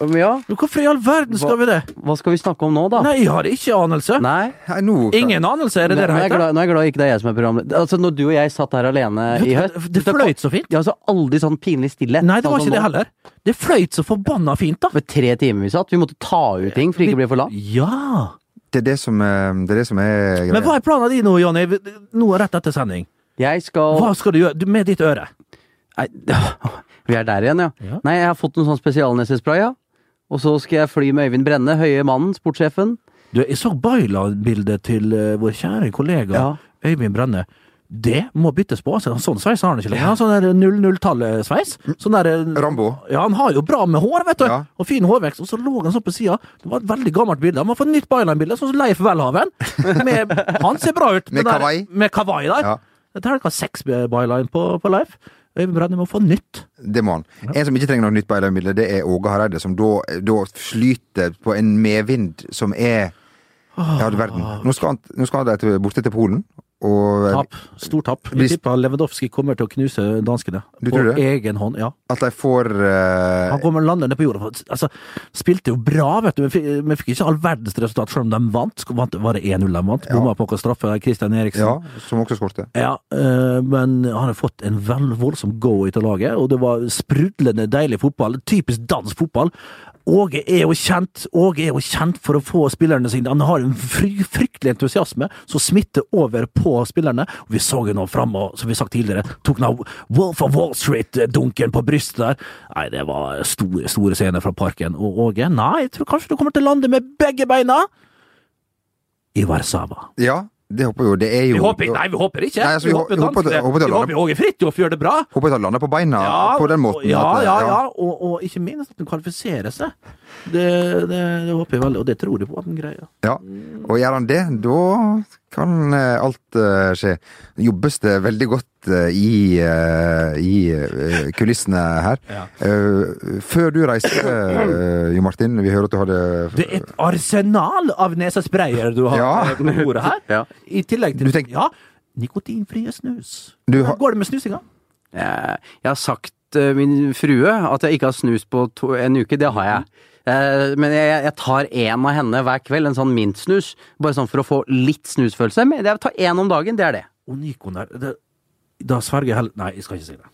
Speaker 4: Men ja,
Speaker 3: Men Hvorfor i all verden skal vi det?
Speaker 4: hva skal vi snakke om nå, da?
Speaker 3: Nei, jeg har ikke anelse.
Speaker 4: Nei.
Speaker 2: nei, nå,
Speaker 3: Ingen anelse, er det det det
Speaker 4: Nå er jeg
Speaker 3: heter?
Speaker 4: glad, nå er jeg glad ikke det er jeg som er programleder. Altså, når du og jeg satt her alene i høst
Speaker 3: Det fløyt så fint.
Speaker 4: Ja, altså aldri sånn pinlig stillhet.
Speaker 3: Nei, det var
Speaker 4: sånn som
Speaker 3: ikke det
Speaker 4: nå.
Speaker 3: heller. Det fløyt så forbanna fint, da.
Speaker 4: Ved tre timer vi satt. Vi måtte ta ut ting for ikke å bli for lang.
Speaker 3: Ja.
Speaker 2: Det er det som, eh, det er, det som er
Speaker 3: Men hva er planen din nå, Jonny? Nå rett etter sending.
Speaker 4: Jeg skal
Speaker 3: Hva skal du gjøre Du- med ditt øre?
Speaker 4: Nei, vi er der igjen, ja.
Speaker 3: Ja.
Speaker 4: Nei, jeg har fått en sånn spesialnesespray, ja. Og så skal jeg fly med Øyvind Brenne, høye mannen, sportssjefen.
Speaker 3: Du, jeg så Baila-bildet til eh, vår kjære kollega
Speaker 4: Ja.
Speaker 3: Øyvind Brenne. Det må byttes på. Altså, sånn sveis har han ikke lenger. Han har Sånn der 00-tallet-sveis. Sånn der, eh,
Speaker 2: Mm. Rambo.
Speaker 3: ja, han har jo bra med hår, vet du.
Speaker 2: Ja.
Speaker 3: Og fin hårvekst. Og så lå han sånn på sida. Det var et veldig gammelt bilde. Han må få et nytt Baila-bilde, sånn som Leif Welhaven. Med- Han ser bra ut.
Speaker 2: Med
Speaker 3: den der-
Speaker 2: kawaii.
Speaker 3: Med kawaii der.
Speaker 2: Ja.
Speaker 3: Dette er ikke seks Baila på, på Leif. Øyvind Brenne må få nytt.
Speaker 2: Det må han. En som ikke trenger noe nytt beilemidler, det er Åge Hareide, som da, da flyter på
Speaker 3: Ah.
Speaker 2: en medvind som er Ja, du verden. Nå skal han, nå skal han der til, borte til Polen, og eh,
Speaker 3: Tap. Stor tap.
Speaker 2: Hvis-
Speaker 3: Vi tipper Lewandowski kommer til å knuse danskene.
Speaker 2: Du
Speaker 3: På
Speaker 2: tror det?
Speaker 3: egen hånd, ja.
Speaker 2: at de får eh,
Speaker 3: Han kommer landende på jorda. for- Altså, spilte jo bra, vet du, men fikk, men fikk ikke all verdens resultat, selv om de vant. Sk- vant var det 1-0 de vant? Bomma på hva straffe av Christian Eriksen.
Speaker 2: Ja, som også skårte.
Speaker 3: Ja, eh, men han har fått en vel voldsom go ut av laget, og det var sprudlende deilig fotball. Typisk dansk fotball. Åge er jo kjent Åge er jo kjent for å få spillerne sine Han har en fry, fryktelig entusiasme som smitter over på spillerne. Og vi så jo nå framme, som vi har sagt tidligere, tok nå Wolf of Wall Street-dunken på brystet der. Nei, det var store, store scener fra parken. Og Åge, nei, jeg tror kanskje du kommer til å lande med begge beina i Warszawa.
Speaker 2: Ja, det håper jeg jo. Det er jo
Speaker 3: Vi håper, nei, vi håper ikke.
Speaker 2: Nei, altså, vi
Speaker 3: vi
Speaker 2: hå-
Speaker 3: håper
Speaker 2: vi håper at-
Speaker 3: danskene-
Speaker 2: håper at-
Speaker 3: vi håper jo Åge Fridtjof gjør det bra.
Speaker 2: Håper at han lander på beina på den måten.
Speaker 3: Ja,
Speaker 2: at, eh,
Speaker 3: ja, ja. Og, og ikke minst at han kvalifiserer seg. Det, det, det håper jeg veldig, og det tror jeg på at han greier.
Speaker 2: Ja, og gjør han det, da kan eh, alt eh, skje. Jobbes det veldig godt eh, i, eh, i eh, kulissene her. Eh, før du reiste, eh, Jo Martin, vi hører at du hadde
Speaker 3: Det er et arsenal av nesesprayer du har
Speaker 2: Ja.
Speaker 3: eh, på bordet her.
Speaker 4: Ja.
Speaker 3: I tillegg til
Speaker 2: Du tenk-
Speaker 3: ja, nikotinfrie snus.
Speaker 2: Du
Speaker 3: Hvordan
Speaker 2: har-
Speaker 3: går det med snusinga?
Speaker 4: Jeg, jeg har sagt eh, min frue at jeg ikke har snus på to, en uke, det har jeg. Eh, Men jeg, jeg tar én av henne hver kveld, en sånn mintsnus. Bare sånn for å få litt snusfølelse. Men jeg tar én om dagen, det er det.
Speaker 3: Og Nikon der det, Da sverger jeg heller Nei, jeg skal ikke si det.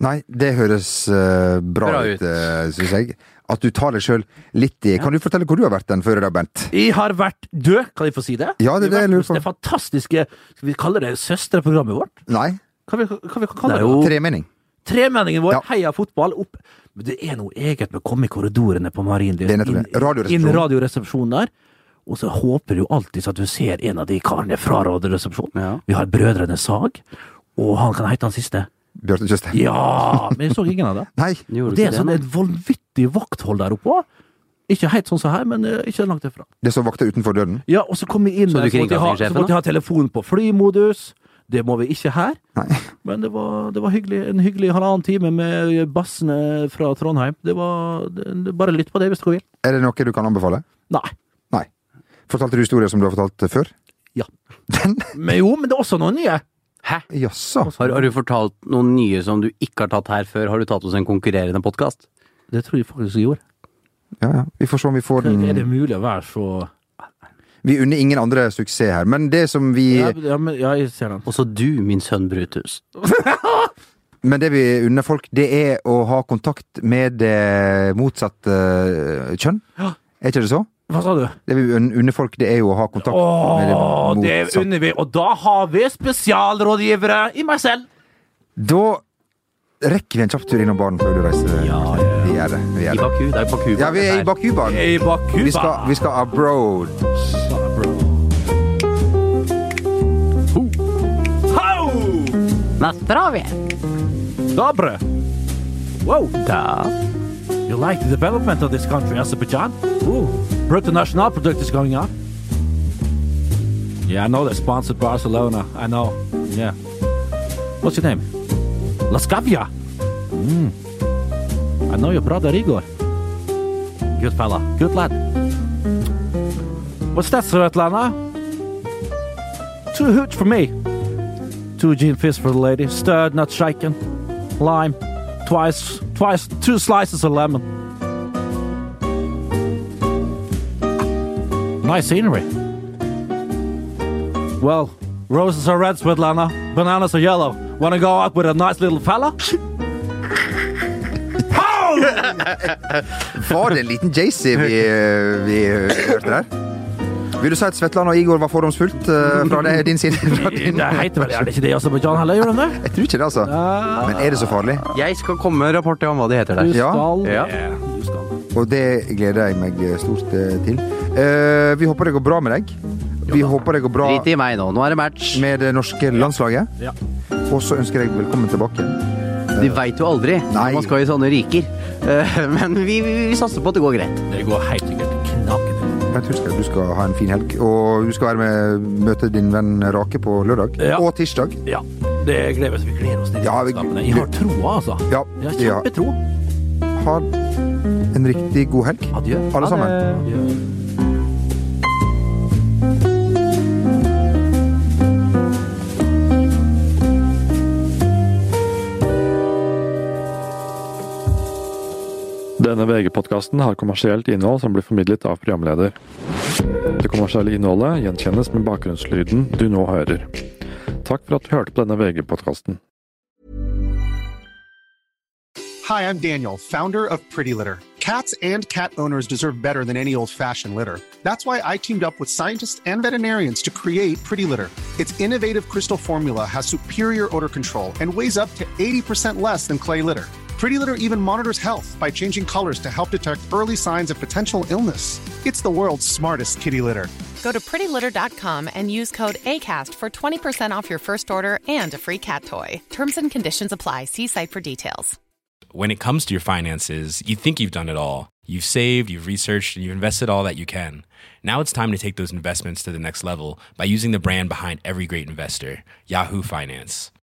Speaker 2: Nei, det høres eh, bra,
Speaker 4: Bra
Speaker 2: ut,
Speaker 4: ut.
Speaker 2: uh, syns jeg. At du tar deg sjøl litt i Kan du fortelle hvor du har vært den før i dag, Bent?
Speaker 3: Jeg har vært død, kan jeg få si det?
Speaker 2: Ja, det er det jeg
Speaker 3: jeg har vært
Speaker 2: lurer
Speaker 3: hos
Speaker 2: på.
Speaker 3: Det fantastiske Skal vi kalle det søsterprogrammet vårt?
Speaker 2: Nei?
Speaker 3: Hva vi, hva vi kan kalle
Speaker 4: Det
Speaker 3: det?
Speaker 4: er jo
Speaker 2: Tremenning.
Speaker 3: Tremenningen vår,
Speaker 2: Ja.
Speaker 3: heia fotball, opp. Men det er noe eget med å komme i korridorene på Marienlyst.
Speaker 2: Det er nettopp det.
Speaker 3: Inn-
Speaker 2: Radioresepsjonen.
Speaker 3: Inn radioresepsjonen der. Og så håper du alltid at du ser en av de karene fra radioresepsjonen.
Speaker 4: Ja.
Speaker 3: Vi har Brødrene Sag, og han kan hete han siste.
Speaker 2: Bjarte Tjøstheim.
Speaker 3: Ja! Men jeg så ingen av det.
Speaker 2: Nei,
Speaker 4: Gjorde
Speaker 3: Og det
Speaker 4: ikke
Speaker 3: er sånn
Speaker 4: nå?
Speaker 3: et vanvittig vakthold der oppe også. Ikke helt sånn som her, men eh, ikke langt derfra.
Speaker 2: det som vakter utenfor døden?
Speaker 3: Ja, og så kom vi inn
Speaker 4: Så
Speaker 3: der,
Speaker 4: du
Speaker 3: så måtte jeg ha-
Speaker 4: kringkastingssjefen,
Speaker 3: så måtte jeg ha telefonen på flymodus. Det må vi ikke her.
Speaker 2: Nei.
Speaker 3: Men det var, det var hyggelig, en hyggelig halvannen time med bassene fra Trondheim. Det var, det, det- bare lytt på det hvis du vil.
Speaker 2: Er det noe du kan anbefale?
Speaker 3: Nei.
Speaker 2: Nei. Fortalte du historier som du har fortalt eh, før?
Speaker 3: Ja.
Speaker 2: Den?
Speaker 3: Men jo, men det er også noen nye.
Speaker 4: Hæ?
Speaker 2: Jaså.
Speaker 4: Har, har du fortalt noen nye som du ikke har tatt her før? Har du tatt hos en konkurrerende podkast?
Speaker 3: Det tror jeg faktisk jeg gjorde. Mm.
Speaker 2: Ja, ja. Vi får se om vi får
Speaker 3: Er det
Speaker 2: den
Speaker 3: mulig å være så
Speaker 2: Vi unner ingen andre suksess her, men det som vi
Speaker 3: ja, ja, men, ja, jeg ser den.
Speaker 4: Også du, min sønn Brutus.
Speaker 2: Men det vi unner folk, det er å ha kontakt med det motsatte eh, kjønn.
Speaker 3: Ja.
Speaker 2: Er ikke det så?
Speaker 3: Hva sa du?
Speaker 2: Det vi un- unner folk, det er jo å ha kontakt med det
Speaker 3: Åh, det
Speaker 2: motsatte.
Speaker 3: unner vi. Og da har vi spesialrådgivere i meg selv.
Speaker 2: Da rekker vi en kjapp tur innom baren før du reiser.
Speaker 3: Ja,
Speaker 2: Vi gjør det. Vi
Speaker 4: I
Speaker 2: gjør det.
Speaker 4: Baku. Det er Baku.
Speaker 2: Ja, vi er i Bakubanen.
Speaker 3: I Bakuba.
Speaker 2: Vi skal, vi skal abroad.
Speaker 3: Hau! Dobre. Wow. You like the development of this country, Azerbaijan? Ooh, brutal national product is going up. Yeah, I know they're sponsored Barcelona. I know. Yeah. What's your name? Laskavia. Mm. I know your brother Igor. Good fella. Good lad. What's that, Svetlana? Two hoots for me. Two gin fizz for the lady. Stirred, not shaken. Lime twice, twice, two slices of lemon. Nice scenery. Well, roses are red, Svetlana. Bananas are yellow. Wanna go out with a nice little fella?
Speaker 2: Var det en liten Jay-Z vi, vi hørte der? Vil du si at Svetlan og Igor var fordomsfullt eh, fra det, din side? Fra
Speaker 3: Det
Speaker 2: din?
Speaker 3: heter vel er det ikke det i Aserbajdsjan heller, gjør det det?
Speaker 2: Jeg tror ikke det, altså. Men er det så farlig?
Speaker 4: Jeg skal komme med en rapport om hva de heter
Speaker 3: Du
Speaker 4: der.
Speaker 2: Ja.
Speaker 3: skal
Speaker 4: Ja.
Speaker 3: Du skal.
Speaker 2: Og det gleder jeg meg stort eh, til. Eh, vi håper det går bra med deg. Vi håper det går bra
Speaker 4: Drit i meg nå. Nå er det match.
Speaker 2: med det norske landslaget.
Speaker 3: Ja.
Speaker 2: Og så ønsker jeg velkommen tilbake.
Speaker 4: De veit jo aldri.
Speaker 2: Nei.
Speaker 4: Man skal i sånne riker. Eh, Men vi, vi, vi satser på at det går greit.
Speaker 3: Det går helt sikkert knakende.
Speaker 2: Bent Hulsker, du skal ha en fin helg. Og du skal være med møte din venn Rake på lørdag.
Speaker 3: Ja.
Speaker 2: Og tirsdag.
Speaker 3: Ja, det gleder oss. Vi gleder oss til de
Speaker 2: Ja, vi-
Speaker 3: landskapene. Jeg har troa, altså.
Speaker 2: Ja,
Speaker 3: Jeg har
Speaker 2: ja.
Speaker 3: kjempetro.
Speaker 2: Ha en riktig god helg,
Speaker 3: Adjø.
Speaker 2: alle sammen.
Speaker 3: Adjø.
Speaker 10: Denne VG-podkasten har kommersielt innhold som blir formidlet av programleder. Det kommersielle innholdet gjenkjennes med bakgrunnslyden du nå hører. Takk for at du hørte på denne VG-podkasten.
Speaker 4: Hi, I'm Daniel, founder of Pretty Litter. Cats and cat owners deserve better than any old fashioned litter. That's why I teamed up with scientists and veterinarians to create Pretty Litter. Its innovative crystal formula has superior odor control and weighs up to 80% less than clay litter. Pretty Litter even monitors health by changing colors to help detect early signs of potential illness. It's the world's smartest kitty litter.
Speaker 5: Go to prettylitter.com and use code ACAST for 20% off your first order and a free cat toy. Terms and conditions apply. See site for details.
Speaker 6: when it comes to your finances, you think you've done it all. You've saved, you've researched, and you've invested all that you can. Now it's time to take those investments to the next level by using the brand behind every great investor, Yahoo Finance.